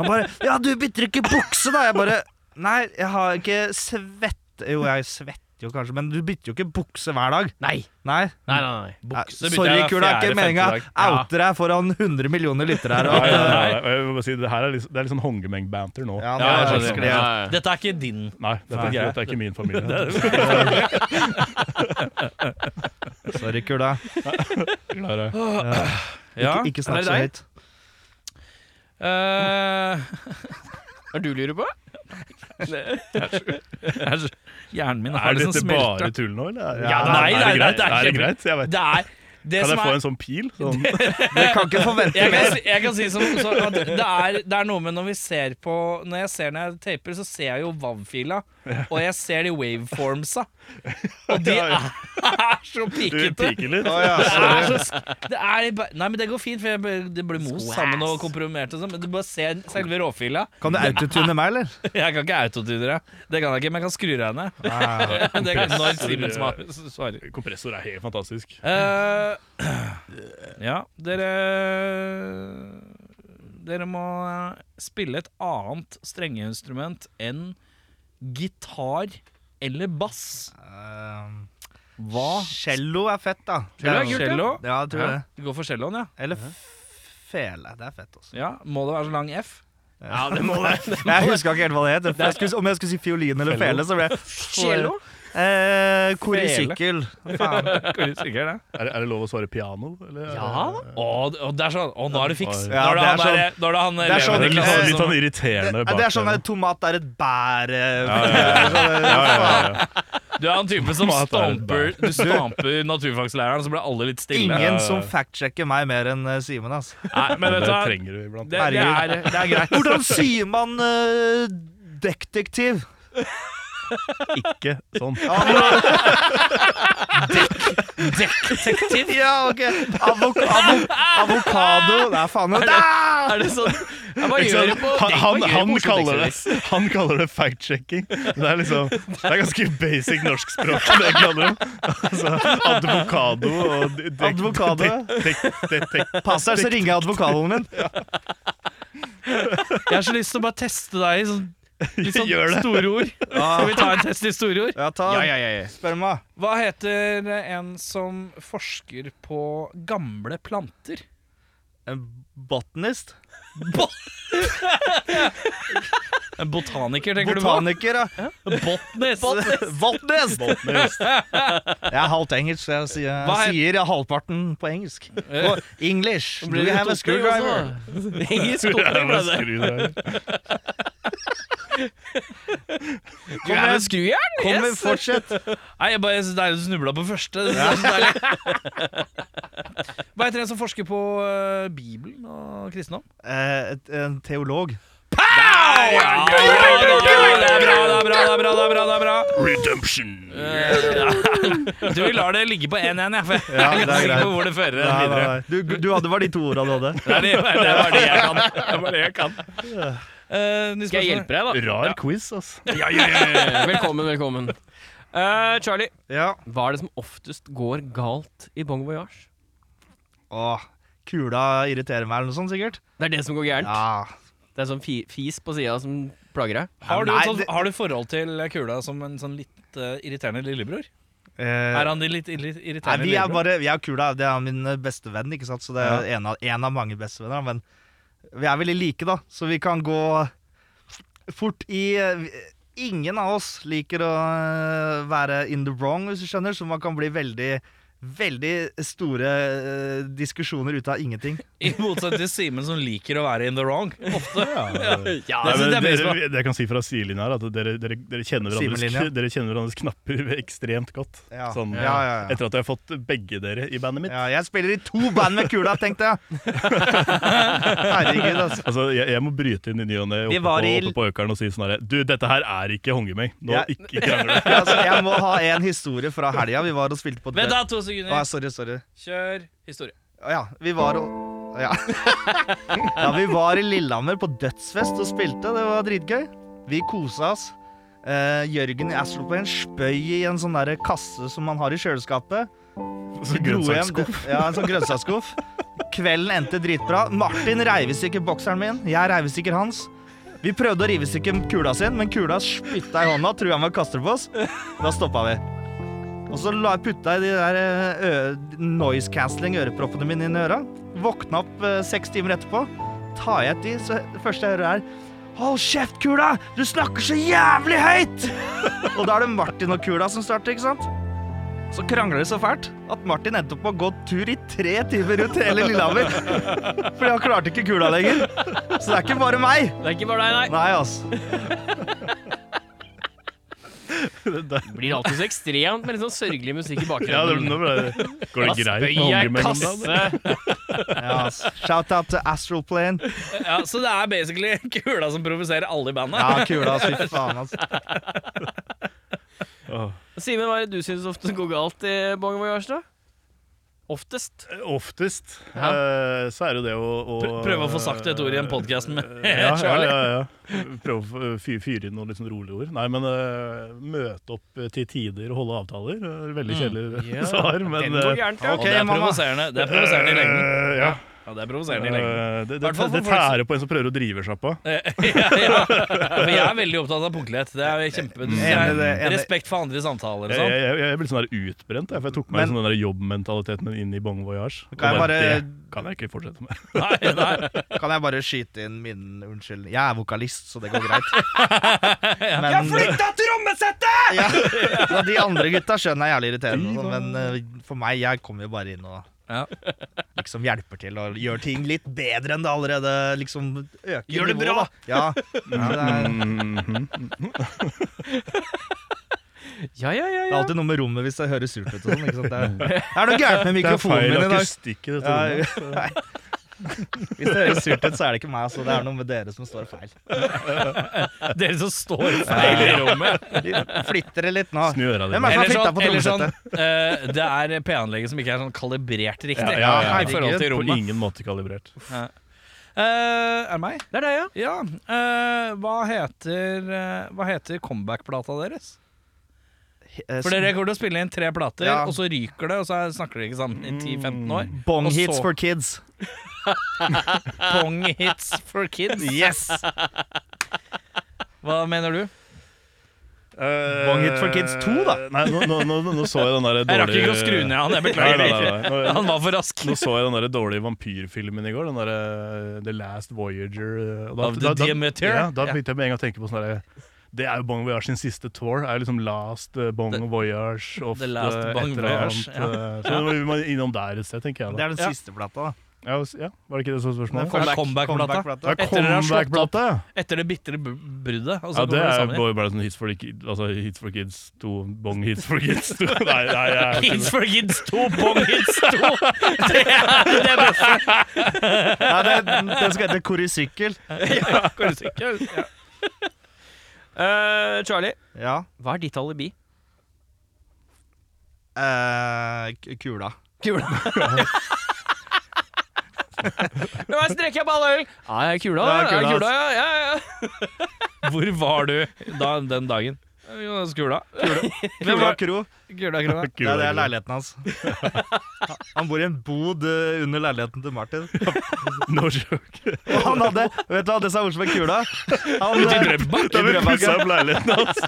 Speaker 4: Han bare 'Ja, du bytter ikke bukse, da!' Jeg bare Nei, jeg har ikke svett Jo, jeg svetter jo kanskje, men du bytter jo ikke bukse hver dag.
Speaker 2: Nei.
Speaker 4: Nei.
Speaker 2: Nei, nei, nei.
Speaker 1: Bukse
Speaker 4: Nei, Sorry, kula. Det er ikke meninga.
Speaker 2: Ja.
Speaker 4: Outer deg foran 100 millioner lyttere her.
Speaker 3: Ja,
Speaker 4: Og,
Speaker 3: ja, ja, ja. Jeg vil bare si, det, her er litt, det er litt sånn hongemeng-banter nå.
Speaker 4: ja,
Speaker 1: Ja, jeg
Speaker 4: jeg
Speaker 1: skjønner.
Speaker 4: elsker det.
Speaker 1: Dette er ikke din.
Speaker 3: Nei, dette er,
Speaker 1: Nei.
Speaker 3: ikke, dette er ikke min familie.
Speaker 4: Sorry, kula.
Speaker 3: Klara.
Speaker 1: Ja.
Speaker 4: Ikke
Speaker 2: Er
Speaker 4: snakk
Speaker 2: det
Speaker 4: så
Speaker 2: deg?
Speaker 4: høyt.
Speaker 1: Eh,
Speaker 2: Hva er det du lurer på?
Speaker 1: Æsj. Hjernen min har
Speaker 3: Eh, Er
Speaker 1: liksom
Speaker 3: dette bare
Speaker 1: smelta.
Speaker 3: tull nå, eller?
Speaker 1: Ja, nei, nei,
Speaker 3: er det
Speaker 1: nei,
Speaker 3: greit?
Speaker 1: det er
Speaker 3: Er det
Speaker 1: kjempe-
Speaker 3: greit? Jeg vet.
Speaker 1: Det er det
Speaker 3: Kan
Speaker 1: som
Speaker 3: jeg få
Speaker 1: er
Speaker 3: en sånn pil? Sånn,
Speaker 4: Dere kan ikke forvente
Speaker 1: jeg kan,
Speaker 4: mer.
Speaker 1: si- jeg kan si som, så at det er, det er noe med når vi ser på Når jeg ser når jeg taper, så ser jeg jo WAV-fila. Og jeg ser de waveformsa. Og de
Speaker 3: Ja, ja.
Speaker 1: er, så
Speaker 3: du
Speaker 1: pikete.
Speaker 3: piker altså. litt?
Speaker 4: Å, ja,
Speaker 1: Det
Speaker 4: sorry.
Speaker 1: er så, sk- det er, ba- nei, men det går fint, for jeg, bare- det blir mos sammen og komprimert. Og sånn, men du bare ser selve råfila.
Speaker 4: Kan du autotune meg, eller?
Speaker 1: Jeg kan ikke autotune det. Det kan jeg ikke, men jeg kan skru deg ned. Det kan, når Simen sma- svarer.
Speaker 3: Kompressor er helt fantastisk.
Speaker 1: Eh, ja, dere Dere må eh, spille et annet strengeinstrument enn gitar eller bass.
Speaker 4: Hva?
Speaker 1: Hva?
Speaker 4: Eh, Cello er fett, da.
Speaker 2: Cello er kult, ja.
Speaker 1: Cello?
Speaker 4: Ja, jeg tror
Speaker 1: Ja,
Speaker 4: det.
Speaker 1: du går for celloen, ja.
Speaker 4: Eller f- fele. Det er fett, altså.
Speaker 1: ja? Må det være så lang F?
Speaker 2: Ja, det må være
Speaker 4: Jeg huska ikke helt hva det het. Jeg skulle, om jeg skulle si fiolin eller fele, så ble jeg
Speaker 2: Cello?
Speaker 4: eh, Korisykkel. Faen.
Speaker 1: Hvor sikker er det?
Speaker 3: Er, det- er det lov å svare piano? Eller?
Speaker 2: Ja da.
Speaker 1: Å, det- å, det er sånn. Å, nå er det fiks. Nå
Speaker 4: Ja,
Speaker 1: er det han
Speaker 4: det er
Speaker 1: der- nå er det han
Speaker 4: Det er sånn-
Speaker 3: Det er
Speaker 1: eleven i
Speaker 3: litt, sånn,
Speaker 1: klassen
Speaker 3: litt sånn
Speaker 1: som-
Speaker 3: irriterende
Speaker 4: Det er sånn
Speaker 3: bakgrunn.
Speaker 4: at tomat er et bær
Speaker 3: Ja,
Speaker 4: eh,
Speaker 3: ja, ja. Ja, ja, ja.
Speaker 1: Du er han typen som
Speaker 3: Mat er en
Speaker 1: stamper Du stamper naturfaglæreren, så blir alle litt stille.
Speaker 4: Ingen som factsjekker meg mer enn eh, Simen, altså.
Speaker 1: Nei, men vet
Speaker 3: Det
Speaker 1: du hva?
Speaker 3: trenger du iblant.
Speaker 1: Det, det, er,
Speaker 4: Herregud.
Speaker 1: det er greit.
Speaker 4: Hvordan sier man eh, detektiv?
Speaker 3: Ikke sånn.
Speaker 1: Detektiv?
Speaker 4: Ja, ok. Avok avo avokado Det er faen meg
Speaker 2: Er det sånn Jeg bare
Speaker 3: Ikke
Speaker 2: gjør
Speaker 3: sant?
Speaker 2: det på
Speaker 3: Han,
Speaker 2: jeg
Speaker 3: han,
Speaker 2: bare gjør
Speaker 3: han,
Speaker 2: det på Oslo
Speaker 3: kaller det,
Speaker 2: Tekst
Speaker 3: han kaller det fact-checking. Det er liksom Det er ganske basic norskspråk. Det kaller de. altså, advokado og de- de-
Speaker 4: Advokado.
Speaker 3: de- de- de- de-
Speaker 4: Pass deg, så ringer jeg advokaten min.
Speaker 1: Jeg har så lyst til å bare teste deg i sånn, litt sånn
Speaker 3: Gjør det.
Speaker 1: store ord. Skal vi ta en test i store ord?
Speaker 4: Ja, ta
Speaker 2: Ja, ja, ja, ja.
Speaker 4: Spør meg.
Speaker 1: Hva heter en som forsker på gamle planter?
Speaker 4: En botanist?
Speaker 1: En botaniker, tenker
Speaker 4: Botaniker, ja.
Speaker 1: du på? Botnist.
Speaker 4: Botanist!
Speaker 3: Botanist.
Speaker 4: Jeg er halvt engelsk, så jeg sier,
Speaker 1: Hva er-
Speaker 4: jeg sier halvparten på engelsk. På English. Do you have a screwdriver?
Speaker 2: Engelsk
Speaker 3: Det er
Speaker 2: opplegg
Speaker 3: bare
Speaker 2: ble
Speaker 3: å
Speaker 2: det.
Speaker 3: skru der.
Speaker 2: Du er med skrujern?
Speaker 4: Kom, men fortsett.
Speaker 1: Nei, jeg bare jeg synes det er du snubla på første. Det synes jeg er så deilig. Hva heter en som forsker på eh, Bibelen og kristendom?
Speaker 4: Eh, et- en teolog.
Speaker 1: Ja, ja, ja, ja, ja, ja, ja, ja, ja, ja, ja, ja, ja, ja, ja, ja, ja, ja, ja, er bra.
Speaker 6: Redemption.
Speaker 1: Du, vi lar det ligge på 1-1, jeg. For jeg
Speaker 3: Ja,
Speaker 1: er
Speaker 3: det er
Speaker 1: ganske sikker
Speaker 3: greit.
Speaker 1: på hvor det fører
Speaker 3: Nei,
Speaker 1: en
Speaker 3: nei,
Speaker 1: videre.
Speaker 3: nei.
Speaker 4: Du, du hadde var de to ordene du hadde.
Speaker 1: Det er det, det er bare det jeg kan. Det er bare det jeg kan. Eh, nye
Speaker 2: Skal jeg
Speaker 1: spørsmål?
Speaker 2: hjelpe deg, da?
Speaker 3: Rar quiz, altså.
Speaker 6: Ja, ja, ja, ja.
Speaker 2: Velkommen, velkommen. Eh, Charlie,
Speaker 4: Ja.
Speaker 2: hva er det som oftest går galt i Bon Voyage?
Speaker 4: Åh, kula irriterer meg eller noe sånt, sikkert.
Speaker 2: Det er det som går gærent.
Speaker 4: Ja.
Speaker 2: Det er sånn fi fis på sida som plager deg.
Speaker 1: Har du,
Speaker 4: Nei,
Speaker 1: sånn,
Speaker 4: det-
Speaker 1: har du forhold til kula som en sånn litt eh, irriterende lillebror?
Speaker 4: Eh,
Speaker 1: Er han din litt, litt
Speaker 4: Nei,
Speaker 1: irriterende
Speaker 4: vi er
Speaker 1: lillebror?
Speaker 4: bare, vi er kula, det er min eh, beste venn, ikke sant? Så det er en, av, en av mange bestevenner, men vi er veldig like da, så vi kan gå fort i... eh, Ingen av oss liker å øh, være in the wrong, hvis du skjønner, så man kan bli veldig, veldig store øh, diskusjoner ut av ingenting.
Speaker 1: I motsetning til Simen, som liker å være in the wrong. Ofte.
Speaker 2: Ja,
Speaker 3: Nei,
Speaker 1: det synes
Speaker 3: men
Speaker 1: jeg er
Speaker 3: dere,
Speaker 1: bra.
Speaker 3: det jeg kan si fra sidelinja, er at dere, dere, dere, kjenner
Speaker 4: Sidelinja.
Speaker 3: hverandres, dere kjenner hverandres knapper ekstremt godt.
Speaker 4: Ja.
Speaker 3: Sånn,
Speaker 4: Ja, ja, ja.
Speaker 3: Etter at jeg har fått begge dere i bandet mitt.
Speaker 4: Ja, jeg spiller i to band med kula, tenkte jeg. Herregud, altså.
Speaker 3: Altså, jeg, jeg må bryte inn i ny og ne
Speaker 4: Vi
Speaker 3: oppe,
Speaker 4: var
Speaker 3: på-
Speaker 4: i-
Speaker 3: oppe på økeren og si sånn herre Du, dette her er ikke hongemeng. Nå,
Speaker 4: Ja.
Speaker 3: ikke krangel.
Speaker 4: Ja, altså, jeg må ha en historie fra helga. Vi var og spilte på
Speaker 1: Vent da, to sekunder.
Speaker 4: Å, sorry, sorry.
Speaker 1: Kjør historie.
Speaker 4: Å Ja, vi var og ja. ja, vi var i Lillehammer på dødsfest og spilte. Det var dritgøy. Vi kosa oss. Eh, Jørgen jeg slo på en spøy i en sånn der kasse som man har i kjøleskapet.
Speaker 3: Så
Speaker 4: Dro hjem-
Speaker 3: grønnsaksskuff.
Speaker 4: Ja, en sånn grønnsaksskuff. Kvelden endte dritbra. Martin reiv i stykker bokseren min, jeg reiv i stykker hans. Vi prøvde å rive i stykker kula sin, men kula spytta i hånda, trua med å kaste det på oss. Da stoppa vi. Og så la jeg putta i de der eh, ø, noise cancelling øreproppene mine inn i øra. Våkna opp eh, seks timer etterpå. Tar jeg et de, så det første jeg hører er Hold kjeft, kula! Du snakker så jævlig høyt! og da er det Martin og kula som starter, ikke sant? Så krangler det så fælt at Martin endte opp med å gå tur i tre timer rundt hele Lillehammer. Fordi han klarte ikke kula lenger. Så det er ikke bare meg.
Speaker 2: Det er ikke bare deg,
Speaker 4: Nei, altså.
Speaker 2: nei. Blir alltid så ekstremt med litt sånn sørgelig musikk i
Speaker 3: Ja, det,
Speaker 2: bakgrunnen.
Speaker 3: nå ble det, går det greit med
Speaker 2: Spøy er
Speaker 3: hongemeng? da, eller?
Speaker 2: kasse.
Speaker 4: Ja, altså. Shout out til Astral Plane.
Speaker 1: Eh, Ja, så det er basically kula som provoserer alle i bandet?
Speaker 4: Ja, kula, altså. Fy faen, altså.
Speaker 3: Åh.
Speaker 2: Simen, hva er det du syns ofte går galt i Bon Voyage, da? Oftest.
Speaker 3: Eh, Oftest
Speaker 2: Ja.
Speaker 3: eh, så er det jo det å, å eh,
Speaker 1: Pr- Prøve å få sagt et ord i en podkast med
Speaker 3: ja, ja,
Speaker 1: Charlie.
Speaker 3: ja, ja. Prøve å få- fy- fyre inn noen litt sånn rolige ord. Nei, men eh, møte opp til tider og holde avtaler. eh,
Speaker 1: Mm.
Speaker 3: Veldig kjedelig
Speaker 2: Ja,
Speaker 3: svar,
Speaker 2: Den
Speaker 3: men
Speaker 2: går
Speaker 3: eh,
Speaker 2: gærent, ja.
Speaker 1: Og det er
Speaker 4: mamma.
Speaker 1: provoserende Det er provoserende i lengden.
Speaker 3: eh, ja.
Speaker 1: Ja, det er provoserende i lengden.
Speaker 3: Eh, Det, det,
Speaker 1: Hvert fall for
Speaker 3: det
Speaker 1: folk som-
Speaker 3: tærer på en som prøver å drive sjappa.
Speaker 1: ja, ja. For jeg er veldig opptatt av punktlighet. Det er kjempe du
Speaker 4: Enig,
Speaker 1: sier,
Speaker 4: det, enig.
Speaker 1: Respekt for andres samtaler og
Speaker 3: Jeg,
Speaker 1: sånn.
Speaker 3: jeg, jeg, jeg ble sånn der utbrent, jeg, for jeg tok meg
Speaker 4: Men-
Speaker 3: sånn der jobbmentaliteten min inn i Bon Voyage. Og
Speaker 4: Kan jeg
Speaker 3: bare,
Speaker 4: bare-
Speaker 3: Det kan jeg ikke fortsette med.
Speaker 1: Nei, nei.
Speaker 4: Kan jeg bare skyte inn min unnskyld? Jeg er vokalist, så det går greit. Men,
Speaker 1: trommesettet!
Speaker 4: Ja. Ja, de andre gutta skjønner jeg er jævlig irriterende, og sånn, men eh, for meg, jeg kommer jo bare inn og
Speaker 1: Ja.
Speaker 4: liksom hjelper til og gjør ting litt bedre enn det allerede liksom øker
Speaker 1: Gjør det
Speaker 4: nivået,
Speaker 1: bra.
Speaker 4: Da. Ja. ja det, er,
Speaker 3: Mhm.
Speaker 2: Ja, ja, ja,
Speaker 4: det er
Speaker 2: ja.
Speaker 4: alltid noe med rommet hvis det høres surt ut og sånn. Ikke sant? Det, er, det er noe gærent med
Speaker 3: Det er
Speaker 4: mikrofonen
Speaker 3: feil
Speaker 4: min i dag.
Speaker 3: akustikk i dette
Speaker 4: Ja,
Speaker 3: rommet.
Speaker 4: nei. Hvis det høres surt ut, så er det ikke meg. Altså. Det er noe med dere som står feil.
Speaker 1: Dere som står feil i rommet.
Speaker 4: Flitter det litt nå.
Speaker 3: Snu øra
Speaker 4: Hvem er
Speaker 3: dine.
Speaker 4: det
Speaker 1: Eller
Speaker 4: som har flytta
Speaker 1: sånn,
Speaker 4: på
Speaker 1: eller sånn
Speaker 4: trommesettet?
Speaker 1: eh, Det er PA-anlegget som ikke er sånn kalibrert riktig.
Speaker 3: Ja, ja, ja.
Speaker 1: I forhold til
Speaker 3: På
Speaker 1: rommet.
Speaker 3: ingen måte kalibrert.
Speaker 1: Eh, er det meg?
Speaker 2: Det er deg, ja.
Speaker 1: Ja. eh, hva heter, eh, hva heter comeback-plata deres?
Speaker 4: Eh,
Speaker 1: For dere kommer til å spille inn tre plater,
Speaker 4: Ja.
Speaker 1: og så ryker det, og så er- snakker dere ikke sammen i 10-15 år.
Speaker 4: Bong
Speaker 1: og så-
Speaker 4: hits for kids.
Speaker 1: Pong hits for kids.
Speaker 4: Yes!
Speaker 1: Hva mener du?
Speaker 3: Bong
Speaker 4: Hit for Kids 2, da.
Speaker 3: Eh, Nei, nå, nå, nå, nå så jeg den der dårlige
Speaker 1: Jeg rakk ikke å skru ned han, jeg beklager.
Speaker 3: Nei, nei, nei, nei. Nå,
Speaker 1: Han var for rask.
Speaker 3: nå så jeg den der dårlige vampyrfilmen i går. Den der eh, The Last Voyager. eh, og
Speaker 1: Of the Demeter?
Speaker 3: Ja, da
Speaker 1: Ja.
Speaker 3: begynte jeg med en gang å tenke på sånn derre det er jo Bong Voyage sin siste tour. er jo liksom Last eh, Bong
Speaker 1: The-
Speaker 3: Voyage of
Speaker 1: The Last
Speaker 3: eh, et
Speaker 1: Bong
Speaker 3: eller
Speaker 1: Voyage,
Speaker 3: annet,
Speaker 1: ja.
Speaker 3: eh, Så vi må innom der et sted, tenker jeg.
Speaker 4: Det
Speaker 3: da
Speaker 4: er den
Speaker 1: Ja.
Speaker 4: siste plata, da.
Speaker 3: Ja, og s- ja, Var det ikke det som var spørsmålet?
Speaker 1: Det er comeback-plata.
Speaker 3: Det er
Speaker 1: Etter dere har slått opp.
Speaker 3: comeback-plate!
Speaker 1: Etter det bitre bu- bruddet. Og så
Speaker 3: Ja,
Speaker 1: kommer
Speaker 3: det
Speaker 1: dere
Speaker 3: er
Speaker 1: sammen igjen.
Speaker 3: bare, bare sånn Hits for, the kid, altså, hits for Kids 2, Bong Hits for Kids 2. Nei, nei, jeg-
Speaker 1: Kids for Kids 2, Pong Hits 2! Det er det beste.
Speaker 4: Nei, det, den skal hete Korisykkel.
Speaker 2: Går du sikker? Ja. Eh, Charlie,
Speaker 4: Ja.
Speaker 2: Hva er ditt alibi?
Speaker 4: Eh, k- kula.
Speaker 2: Nå strekker jeg på alle øl! Ja, jeg er kula,
Speaker 4: Ja, jeg er
Speaker 2: jeg er
Speaker 4: kula,
Speaker 2: kula, ja, ja, ja.
Speaker 1: Hvor var du da, den dagen? Jonas Kula.
Speaker 4: Kula Kro.
Speaker 1: Kula, kula.
Speaker 4: Ja, det er leiligheten hans. Han bor i en bod eh, under leiligheten til Martin.
Speaker 3: No joke.
Speaker 4: Og han hadde Vet du hva det sa Oslo med kula? Han,
Speaker 1: I
Speaker 4: eh,
Speaker 1: Drøbak.
Speaker 3: Da har vi
Speaker 4: Drøbak,
Speaker 3: pussa
Speaker 4: ja.
Speaker 3: opp leiligheten hans.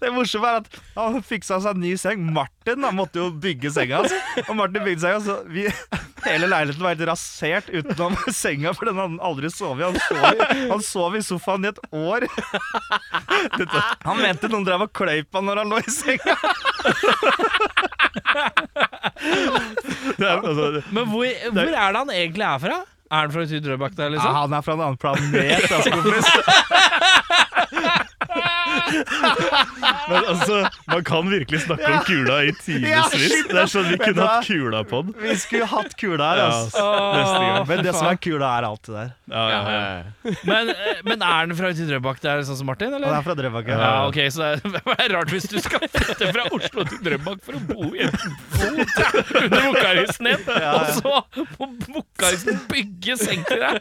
Speaker 4: det morsomme er at han fiksa seg en ny seng. Martin da, måtte jo bygge senga hans. Og Martin bygde senga, så vi, hele leiligheten var helt rasert utenom senga, for den hadde han aldri sovet i. Han sov, i- han sov i sofaen i et år. Han mente noen drev og kløy på han når han lå i senga.
Speaker 3: Det er, altså,
Speaker 1: Men hvor, hvor er det han egentlig er fra? Er han fra Drøbak der,
Speaker 4: Ja,
Speaker 1: liksom?
Speaker 4: han er fra en annen planet, altså, kompis.
Speaker 3: men altså, man kan virkelig snakke om kula i
Speaker 4: Ja,
Speaker 3: timevis.
Speaker 4: shit,
Speaker 3: Det er sånn vi
Speaker 4: Vet du
Speaker 3: kunne hatt
Speaker 4: hva?
Speaker 3: kula på den.
Speaker 4: Vi skulle hatt kula her,
Speaker 3: Ja,
Speaker 4: altså.
Speaker 3: neste gang.
Speaker 4: Men det som er kula, er alt det der.
Speaker 3: Ja, ja, ja.
Speaker 1: Men, eh, men er han fra ute i Drøbak der, sånn som Martin,
Speaker 4: Han
Speaker 1: eller?
Speaker 4: er fra Drøbak.
Speaker 1: Ja, ok, så det er, det er rart hvis du skal flytte fra Oslo til Drøbak for å bo i en bot under Bukarisen din, og så på Bukarisen bygge seng til deg.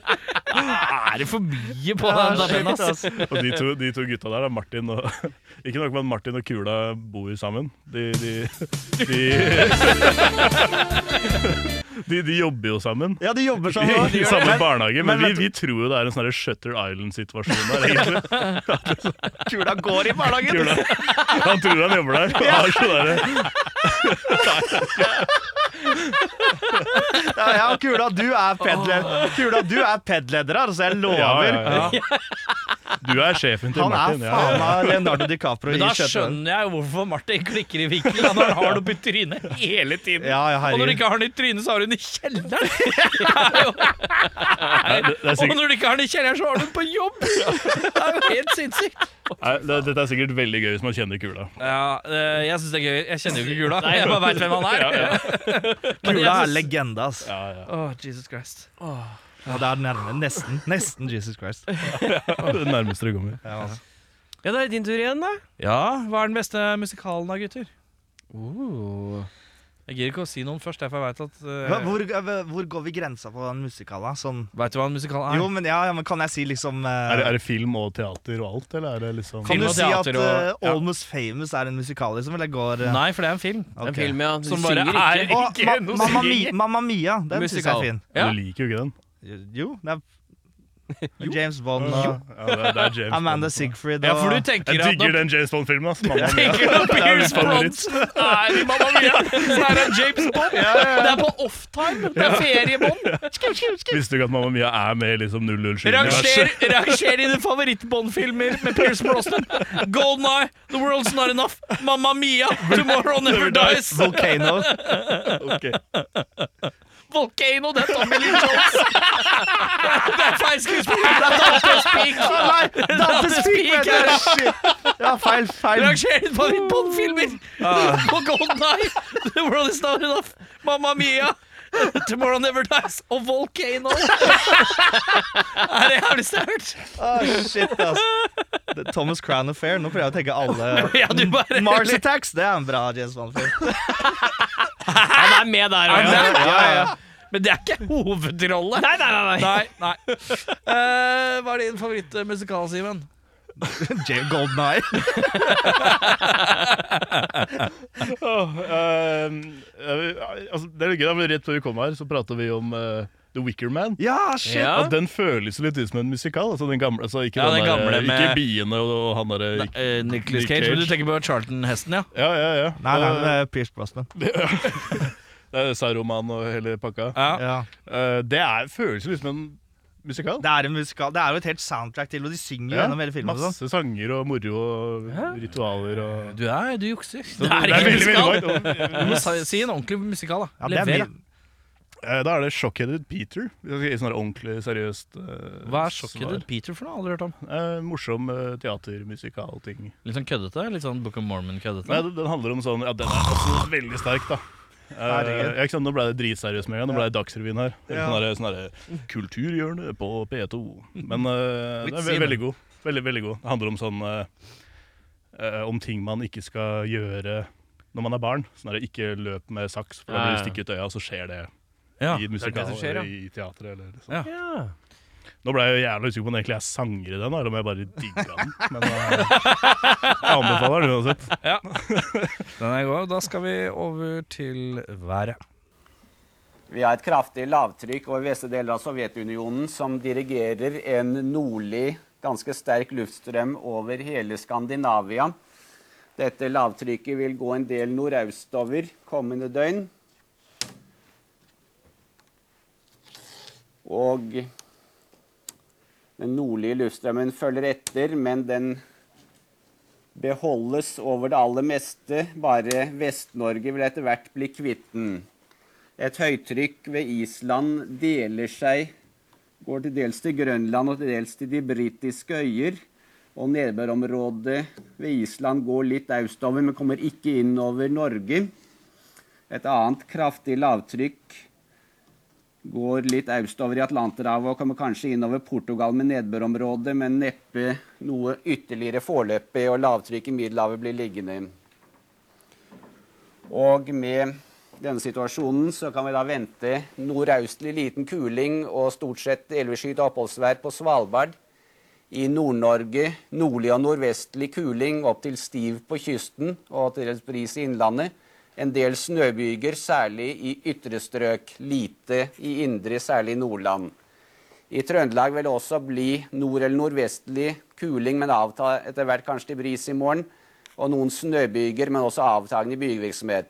Speaker 1: Er det for mye på den tabellen, ass?
Speaker 3: Og de to, de to gutta der, da, Martin og Ikke nok med at Martin og kula bor sammen. De De, de, de, de jobber jo sammen.
Speaker 4: Ja, de jobber sånn
Speaker 3: I,
Speaker 4: sammen. også.
Speaker 3: i samme
Speaker 4: Men
Speaker 3: barnehage, men,
Speaker 4: men vet
Speaker 3: vi, vi tror jo det er en sånn her Shutter Island-situasjon der, egentlig.
Speaker 4: Kula går i barnehagen!
Speaker 3: Kula. Han tror han jobber der. Og har sånn der
Speaker 4: Ja, ja, kula, du er pedler. Kula, du er pedleder her, så jeg lover.
Speaker 3: ja, ja, ja. Du er sjefen til
Speaker 4: Han er
Speaker 3: Martin. Ja,
Speaker 4: faen
Speaker 3: ja.
Speaker 4: meg Leonardo DiCaprio i
Speaker 1: Men da
Speaker 4: skjøtter.
Speaker 1: skjønner jeg jo hvorfor Martin klikker i vinkelen. Han har noe på trynet hele tiden.
Speaker 4: Ja, ja,
Speaker 1: Og når du
Speaker 4: herregud.
Speaker 1: ikke har den i trynet, så har du den i kjelleren!
Speaker 3: Nei, det, det er
Speaker 1: Og
Speaker 3: sikkert,
Speaker 1: når du ikke har den i kjelleren, så har du den på jobb! Det er jo helt sinnssykt.
Speaker 3: nei, det, dette er sikkert veldig gøy hvis man kjenner kula.
Speaker 1: Ja, eh, jeg syns det er gøy. Jeg kjenner jo ikke Gula. Jeg bare veit hvem han er. Men jeg
Speaker 4: Kula er
Speaker 1: synes-
Speaker 4: legende, ass.
Speaker 3: Ja, ja.
Speaker 1: Åh, Jesus Christ.
Speaker 4: Ja, det er nærme. Nesten. Nesten Jesus Christ.
Speaker 3: Det nærmeste du kommer.
Speaker 4: Ja, altså.
Speaker 2: Ja, det er din tur igjen, da.
Speaker 1: Ja, hva er den beste musikalen da, gutter? Jeg gidder ikke å si noen først, derfor jeg veit at
Speaker 4: Hva-
Speaker 1: uh,
Speaker 4: Hvor, hvor går vi grensa på den musikalen? Sånn.
Speaker 1: Veit du hva en musikal er?
Speaker 4: Jo, men ja, ja, men kan jeg si liksom eh,
Speaker 3: Er, det- er det film og teater og alt, eller er det liksom
Speaker 4: Kan
Speaker 1: Film
Speaker 4: du
Speaker 1: og
Speaker 4: si at
Speaker 1: teater og-
Speaker 4: eh, Almost Famous er en musikal, liksom? Eller går eh,
Speaker 1: Nei, for det er en film.
Speaker 4: ok.
Speaker 2: En film, ja. Du
Speaker 1: Som bare
Speaker 2: synger
Speaker 1: er-
Speaker 2: ikke.
Speaker 4: Og ma Mamma, Mi Mamma Mia, den syns jeg
Speaker 2: Musikal.
Speaker 4: er fin.
Speaker 1: Ja.
Speaker 3: Du liker jo ikke den.
Speaker 4: Jo, det er James Bond
Speaker 3: Ja,
Speaker 4: og
Speaker 3: det er, det er James
Speaker 4: Amanda
Speaker 3: Bond.
Speaker 4: Sigfrid
Speaker 1: Ja,
Speaker 4: og
Speaker 1: for du tenker
Speaker 3: Jeg
Speaker 1: at når
Speaker 3: digger den James Bond-filmen. ass. Mamma mia.
Speaker 1: Tenker du at Pierce
Speaker 3: favoritt.
Speaker 1: Bronson er i Mamma Mia? Så er han James Bond? Det er på offtime! Det er feriebånd!
Speaker 3: Visste du ikke at Mamma Mia er med i liksom 007?
Speaker 1: Ranger, ranger dine favorittbåndfilmer med Pierce Brosnan. Golden Eye, The World's Not Enough, Mamma Mia, Tomorrow Never Dies,
Speaker 4: Volcano.
Speaker 3: Ok.
Speaker 1: Volcano, det er Tommy Lee Jones. Det er feil skuespiller, det er Dantes Peak.
Speaker 4: Å nei! Dantes Peak,
Speaker 1: Peak,
Speaker 4: mener
Speaker 1: ja.
Speaker 4: jeg! Shit. Ja, feil, feil.
Speaker 1: Ranger dine favorittbåndfilmer på Golden Eye, The World Is Not Enough, Mamma Mia. Tomorrow Never Dies og Volcano. Det er det jævligste jeg har hørt.
Speaker 4: Å, Ah, shit, ass. Det- Thomas Crown Affair. Nå prøver jeg å tenke alle
Speaker 1: Ja, du bare
Speaker 4: Mars Attacks, det er en bra James Bond-film.
Speaker 2: Han er med der,
Speaker 1: Er det
Speaker 2: ja.
Speaker 1: det?
Speaker 4: Ja, ja.
Speaker 1: Men det er ikke hovedrolle.
Speaker 2: Nei, nei, nei. nei.
Speaker 1: Nei, nei. Eh, hva er din favorittmusikal, Simen?
Speaker 4: James Golden Eye.
Speaker 3: Åh, ehm, eh, altså, det er litt gøy, da, men rett før vi kom her, så prata vi om eh, The Wicker Man.
Speaker 4: Ja, shit.
Speaker 2: Ja.
Speaker 3: At den føles litt ut som en musikal. Altså den gamle, altså ikke,
Speaker 1: Ja,
Speaker 3: den
Speaker 1: den
Speaker 3: der,
Speaker 1: gamle
Speaker 3: eh,
Speaker 1: med-
Speaker 3: ikke biene og, og han derre
Speaker 1: Nicholas
Speaker 3: Nick Cage.
Speaker 1: Eh, Cage. Men du tenker på Charlton-hesten, ja?
Speaker 3: Ja, ja, ja.
Speaker 4: Nei, nei,
Speaker 3: Eh,
Speaker 4: det er Pierce Brosnan.
Speaker 3: det er Saruman og hele pakka.
Speaker 1: ja.
Speaker 4: Ja.
Speaker 3: Eh, det er, føles litt som en musikal.
Speaker 4: Det er en musikal Det er jo et helt soundtrack til, og de synger jo
Speaker 3: Ja,
Speaker 4: gjennom hele filmen. og Sånn.
Speaker 3: Masse sanger og moro og ritualer og
Speaker 1: Du er, du jukser. Det
Speaker 3: Det
Speaker 1: er
Speaker 3: er
Speaker 1: ikke
Speaker 3: veldig, veldig
Speaker 1: musikal.
Speaker 3: mange-
Speaker 1: Du må si, si en ordentlig musikal, da.
Speaker 4: Ja, det er
Speaker 1: Lever,
Speaker 4: min-
Speaker 3: Eh, Da er det Shockheaded Peter. Hvis jeg skal gi sånn her ordentlig seriøst eh,
Speaker 1: da. Hva er sjokket
Speaker 3: svar.
Speaker 1: til Peter for noe? Aldri hørt om.
Speaker 3: Eh, morsom eh, teatermusikalting.
Speaker 1: Litt sånn køddete? Litt sånn Book of
Speaker 3: Nei,
Speaker 1: Mormon-køddete?
Speaker 3: den, den handler om sånn Ja, den er også veldig sterk, da. Eh,
Speaker 4: Herregud.
Speaker 3: ja, ikke sant? Nå ble det dritseriøst med en gang. Nå ble det Dagsrevyen her.
Speaker 4: Ja.
Speaker 3: Sånn her- sånn her Kulturhjørnet på P2. Men eh, den er ve
Speaker 1: Simen.
Speaker 3: veldig god. Veldig, veldig god. Det handler om sånn eh, eh, om ting man ikke skal gjøre når man er barn. Sånn er det ikke løp med saks, for da
Speaker 2: Ja,
Speaker 3: blir du
Speaker 2: ja.
Speaker 3: stikket i øya, og så skjer det
Speaker 1: Ja.
Speaker 3: i et
Speaker 2: er det
Speaker 3: musikal
Speaker 2: som skjer, ja.
Speaker 3: eller i teater. Eller sånn.
Speaker 1: Ja.
Speaker 2: Ja.
Speaker 3: Nå ble jeg jo jævla usikker på om egentlig jeg sanger i den, eller om jeg bare digga den. Men eh, jeg anbefaler den uansett.
Speaker 1: Den er god. Da skal vi over til været.
Speaker 7: Vi har et kraftig lavtrykk over vestre deler av Sovjetunionen som dirigerer en nordlig, ganske sterk luftstrøm over hele Skandinavia. Dette lavtrykket vil gå en del nordøstover kommende døgn. Og den nordlige luftstrømmen følger etter, men den beholdes over det aller meste. Bare Vest-Norge vil etter hvert bli kvitt den. Et høytrykk ved Island deler seg, går til dels til Grønland og til dels til de britiske øyer. Og nedbørområdet ved Island går litt østover, men kommer ikke inn over Norge. Et annet kraftig lavtrykk går litt østover i Atlanterhavet og kommer kanskje innover Portugal med nedbørområde, men neppe noe ytterligere foreløpig, og lavtrykk i Middelhavet blir liggende. Og med denne situasjonen så kan vi da vente nordøstlig liten kuling og stort sett elveskyet oppholdsvær på Svalbard. I Nord-Norge nordlig og nordvestlig kuling opp til stiv på kysten og til dels bris i innlandet. En del snøbyger, særlig i ytre strøk. Lite i indre, særlig i Nordland. I Trøndelag vil det også bli nord- eller nordvestlig kuling, men avta etter hvert kanskje til bris i morgen. Og noen snøbyger, men også avtagende bygevirksomhet.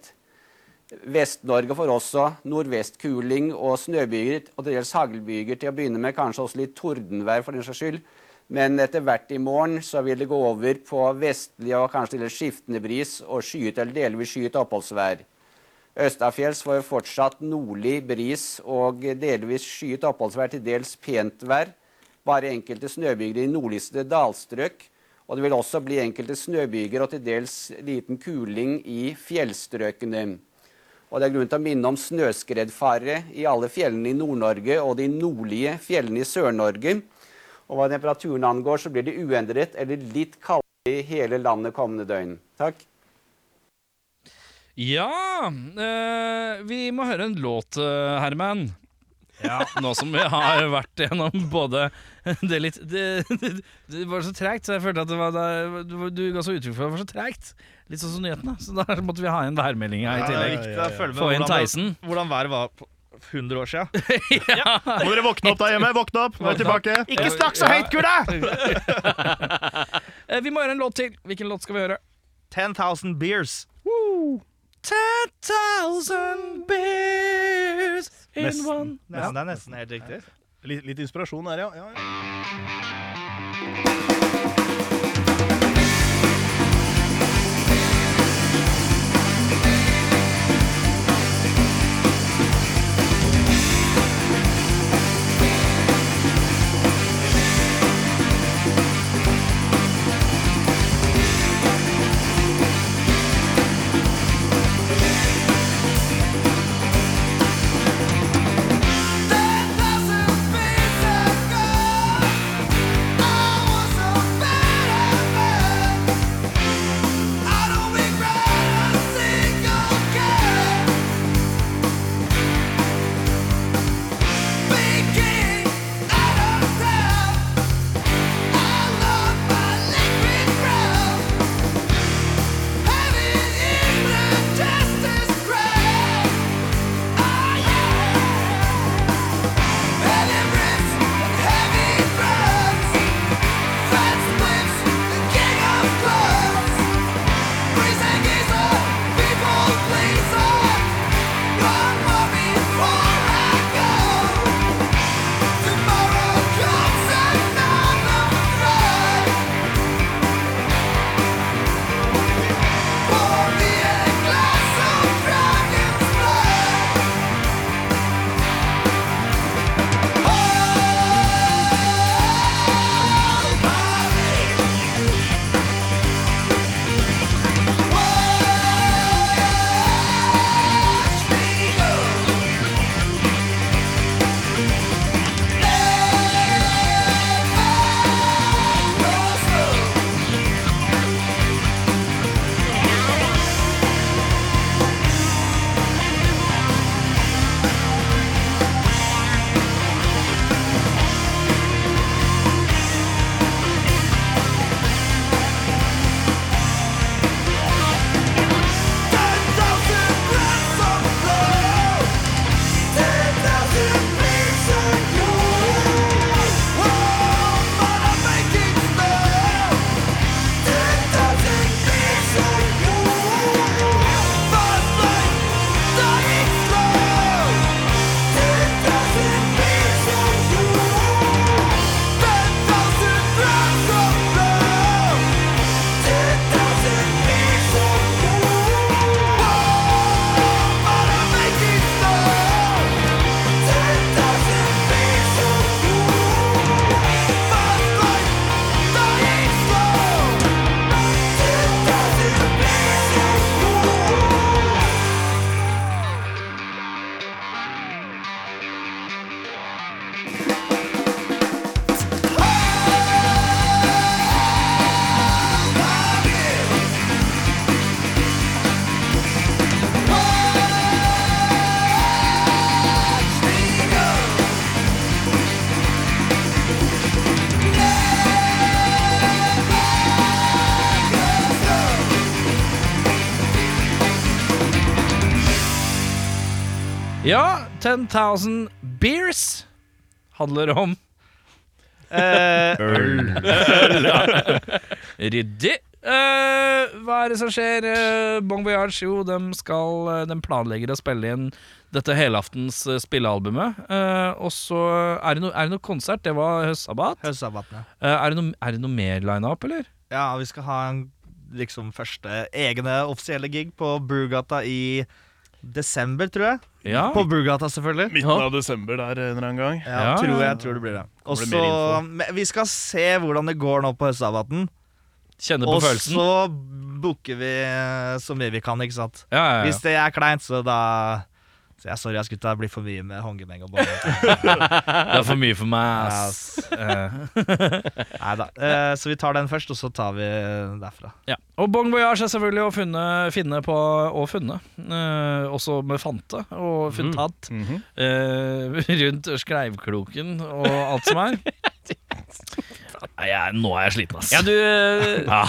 Speaker 7: Vest-Norge får også nordvestkuling og snøbyger og til dels haglbyger til å begynne med. Kanskje også litt tordenvær for den saks skyld. Men etter hvert i morgen så vil det gå over på vestlig og kanskje til dels skiftende bris og skyet eller delvis skyet oppholdsvær. Østafjells får fortsatt nordlig bris og delvis skyet oppholdsvær, til dels pent vær. Bare enkelte snøbyger i nordligste dalstrøk. Og det vil også bli enkelte snøbyger og til dels liten kuling i fjellstrøkene. Og det er grunn til å minne om snøskredfare i alle fjellene i Nord-Norge og de nordlige fjellene i Sør-Norge. Og hva temperaturen angår, så blir det uendret eller litt kaldere i hele landet kommende døgn. Takk.
Speaker 1: Ja eh, Vi må høre en låt, eh, Herman. Nå som vi har vært gjennom både Det litt Det, det, det var så tregt, så jeg følte at det var da- du, du ga så uttrykk for at det var så tregt. Litt sånn som nyhetene. Så da måtte vi ha en værmelding her i
Speaker 4: det er
Speaker 1: tillegg.
Speaker 4: viktig å følge med
Speaker 1: Få inn
Speaker 4: hvordan det-
Speaker 1: Theisen.
Speaker 4: Hvordan været var på 100 år siden.
Speaker 3: Må dere våkne opp der hjemme! Våkne opp! Nå er jeg tilbake!
Speaker 4: Ikke snakk så høyt, Gule!
Speaker 1: Eh, vi må høre en låt til. Hvilken låt skal vi høre?
Speaker 4: 10,000 beers.
Speaker 1: 10,000 beers in
Speaker 3: Nesten.
Speaker 1: one
Speaker 4: Nesten, Det er nesten helt riktig.
Speaker 3: Litt, litt inspirasjon her, ja. ja, ja.
Speaker 5: Ten thousand beats of gold. I was
Speaker 1: Ja, 10,000 beers handler om
Speaker 4: Eh,
Speaker 1: Ryddig. Eh, hva er det som skjer? Eh, bon Voyage, jo, de, skal, eh, de planlegger å spille inn dette helaftens eh, spillealbumet. Eh, og så er det noe er det noe konsert. Det var høstsabbat.
Speaker 4: Høstsabatene.
Speaker 1: Eh, er, det noe- er det noe mer line-up, eller?
Speaker 4: Ja, vi skal ha en liksom første egne offisielle gig på Brugata i desember, tror jeg.
Speaker 1: Ja.
Speaker 4: På Brugata, selvfølgelig.
Speaker 3: Midten av desember der eh, en eller annen gang.
Speaker 4: Ja,
Speaker 1: Ja.
Speaker 4: Tror jeg tror det blir det. Og
Speaker 3: det
Speaker 4: så
Speaker 3: mer
Speaker 4: men Vi skal se hvordan det går nå på høstsabaten.
Speaker 1: Kjenner på
Speaker 4: Og
Speaker 1: følelsen.
Speaker 4: så booker vi eh, så mye vi kan, ikke sant.
Speaker 1: Ja, ja, ja.
Speaker 4: Hvis det er kleint, så da Så jeg, Sorry, ass, gutta. Det blir for mye med hongemeng og bolle.
Speaker 1: Det er for mye for meg, ass. Eh,
Speaker 4: Nei da. Eh, Så vi tar den først, og så tar vi eh, derfra.
Speaker 1: Ja. Og Bon Voyage er selvfølgelig å funne, finne på og funne. Eh, også med fante og funtat. eh, rundt skreivkloken og alt som er. Nei, jeg, nå er jeg sliten, ass.
Speaker 2: Ja, du eh,
Speaker 1: Ja.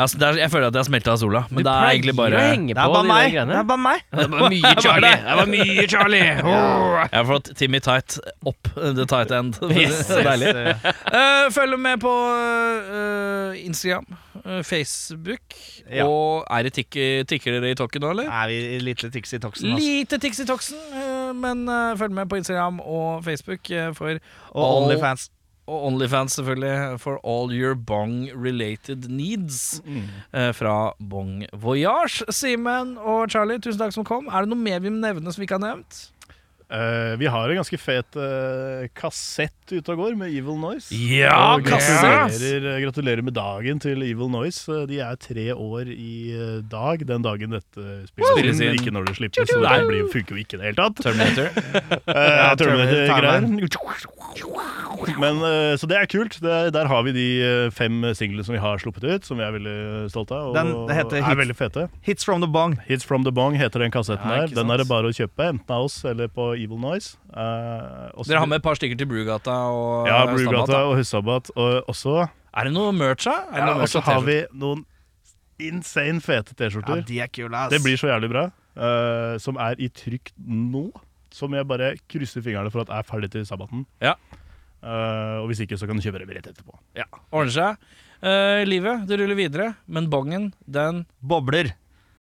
Speaker 1: Altså, det er, jeg føler at jeg smelta av sola, men
Speaker 2: Du
Speaker 1: det er egentlig bare
Speaker 2: pleier å henge
Speaker 4: Det
Speaker 2: på
Speaker 4: er bare
Speaker 2: de der
Speaker 4: meg! Det
Speaker 2: greiene.
Speaker 4: er bare meg.
Speaker 2: Det var mye Charlie. Det var mye Charlie. Åh.
Speaker 1: Jeg har fått Timmy Tight opp the tight end.
Speaker 2: Yes,
Speaker 1: Det er Deilig. Eh, følg med på eh, Instagram, eh, Facebook,
Speaker 4: Ja.
Speaker 1: og er det tikk, tikker dere i tokken nå, eller?
Speaker 4: Er vi litt tics i toksen? ass.
Speaker 1: Lite tics i toksen, eh, men eh, følg med på Instagram og Facebook eh, for
Speaker 4: Og Onlyfans.
Speaker 1: og Onlyfans selvfølgelig for all your bong-related needs
Speaker 3: Mm.
Speaker 1: eh, fra Bong Voyage. Simen og Charlie, tusen takk som kom. Er det noe mer vi må nevne som vi ikke har nevnt?
Speaker 3: Eh, vi har en ganske fet eh, kassett ute og går med Evil Noise.
Speaker 1: Ja,
Speaker 3: Og gratulerer, eh, gratulerer med dagen til Evil Noise. Eh, De er tre år i eh, dag den dagen dette
Speaker 1: Spilles
Speaker 3: spilles
Speaker 1: inn.
Speaker 3: inn. Ikke når det slippes, så det blir, funker jo ikke i det hele tatt.
Speaker 1: Terminator.
Speaker 3: Eh,
Speaker 4: Terminator
Speaker 3: Terminator-greier. Men, eh, så det er kult. Det er, der har vi de eh, fem singlene som vi har sluppet ut, som vi er veldig stolte av. Og
Speaker 4: Den- det heter
Speaker 3: er
Speaker 4: Hits.
Speaker 3: veldig fete.
Speaker 4: Hits from the bong.
Speaker 3: Hits From The Bong heter den kassetten
Speaker 2: Ja,
Speaker 3: der.
Speaker 2: ikke
Speaker 3: Den
Speaker 2: sant.
Speaker 3: er det bare å kjøpe, enten av oss eller på Evil Noise. Eh, også-
Speaker 1: Dere har med et par stykker til Brugata og
Speaker 3: ja,
Speaker 1: eh, Standard,
Speaker 3: Brugata og Hussabat. Og også,
Speaker 1: da. Er det noe merch, da? Er det
Speaker 3: ja,
Speaker 1: noe merch
Speaker 3: og så
Speaker 1: og
Speaker 3: har
Speaker 1: T-skjorte?
Speaker 3: vi noen insane fete
Speaker 4: Ja,
Speaker 3: T-skjorter.
Speaker 4: de er kule, ass.
Speaker 3: Det blir så jævlig bra. eh, som er i trykk nå. Som jeg bare krysser fingrene for at er ferdig til sabbaten.
Speaker 1: Ja.
Speaker 3: Eh, og hvis ikke, så kan du kjøpe det rett etterpå.
Speaker 1: Ordner seg. Eh, livet, det ruller videre, men bongen, den
Speaker 4: Bobler.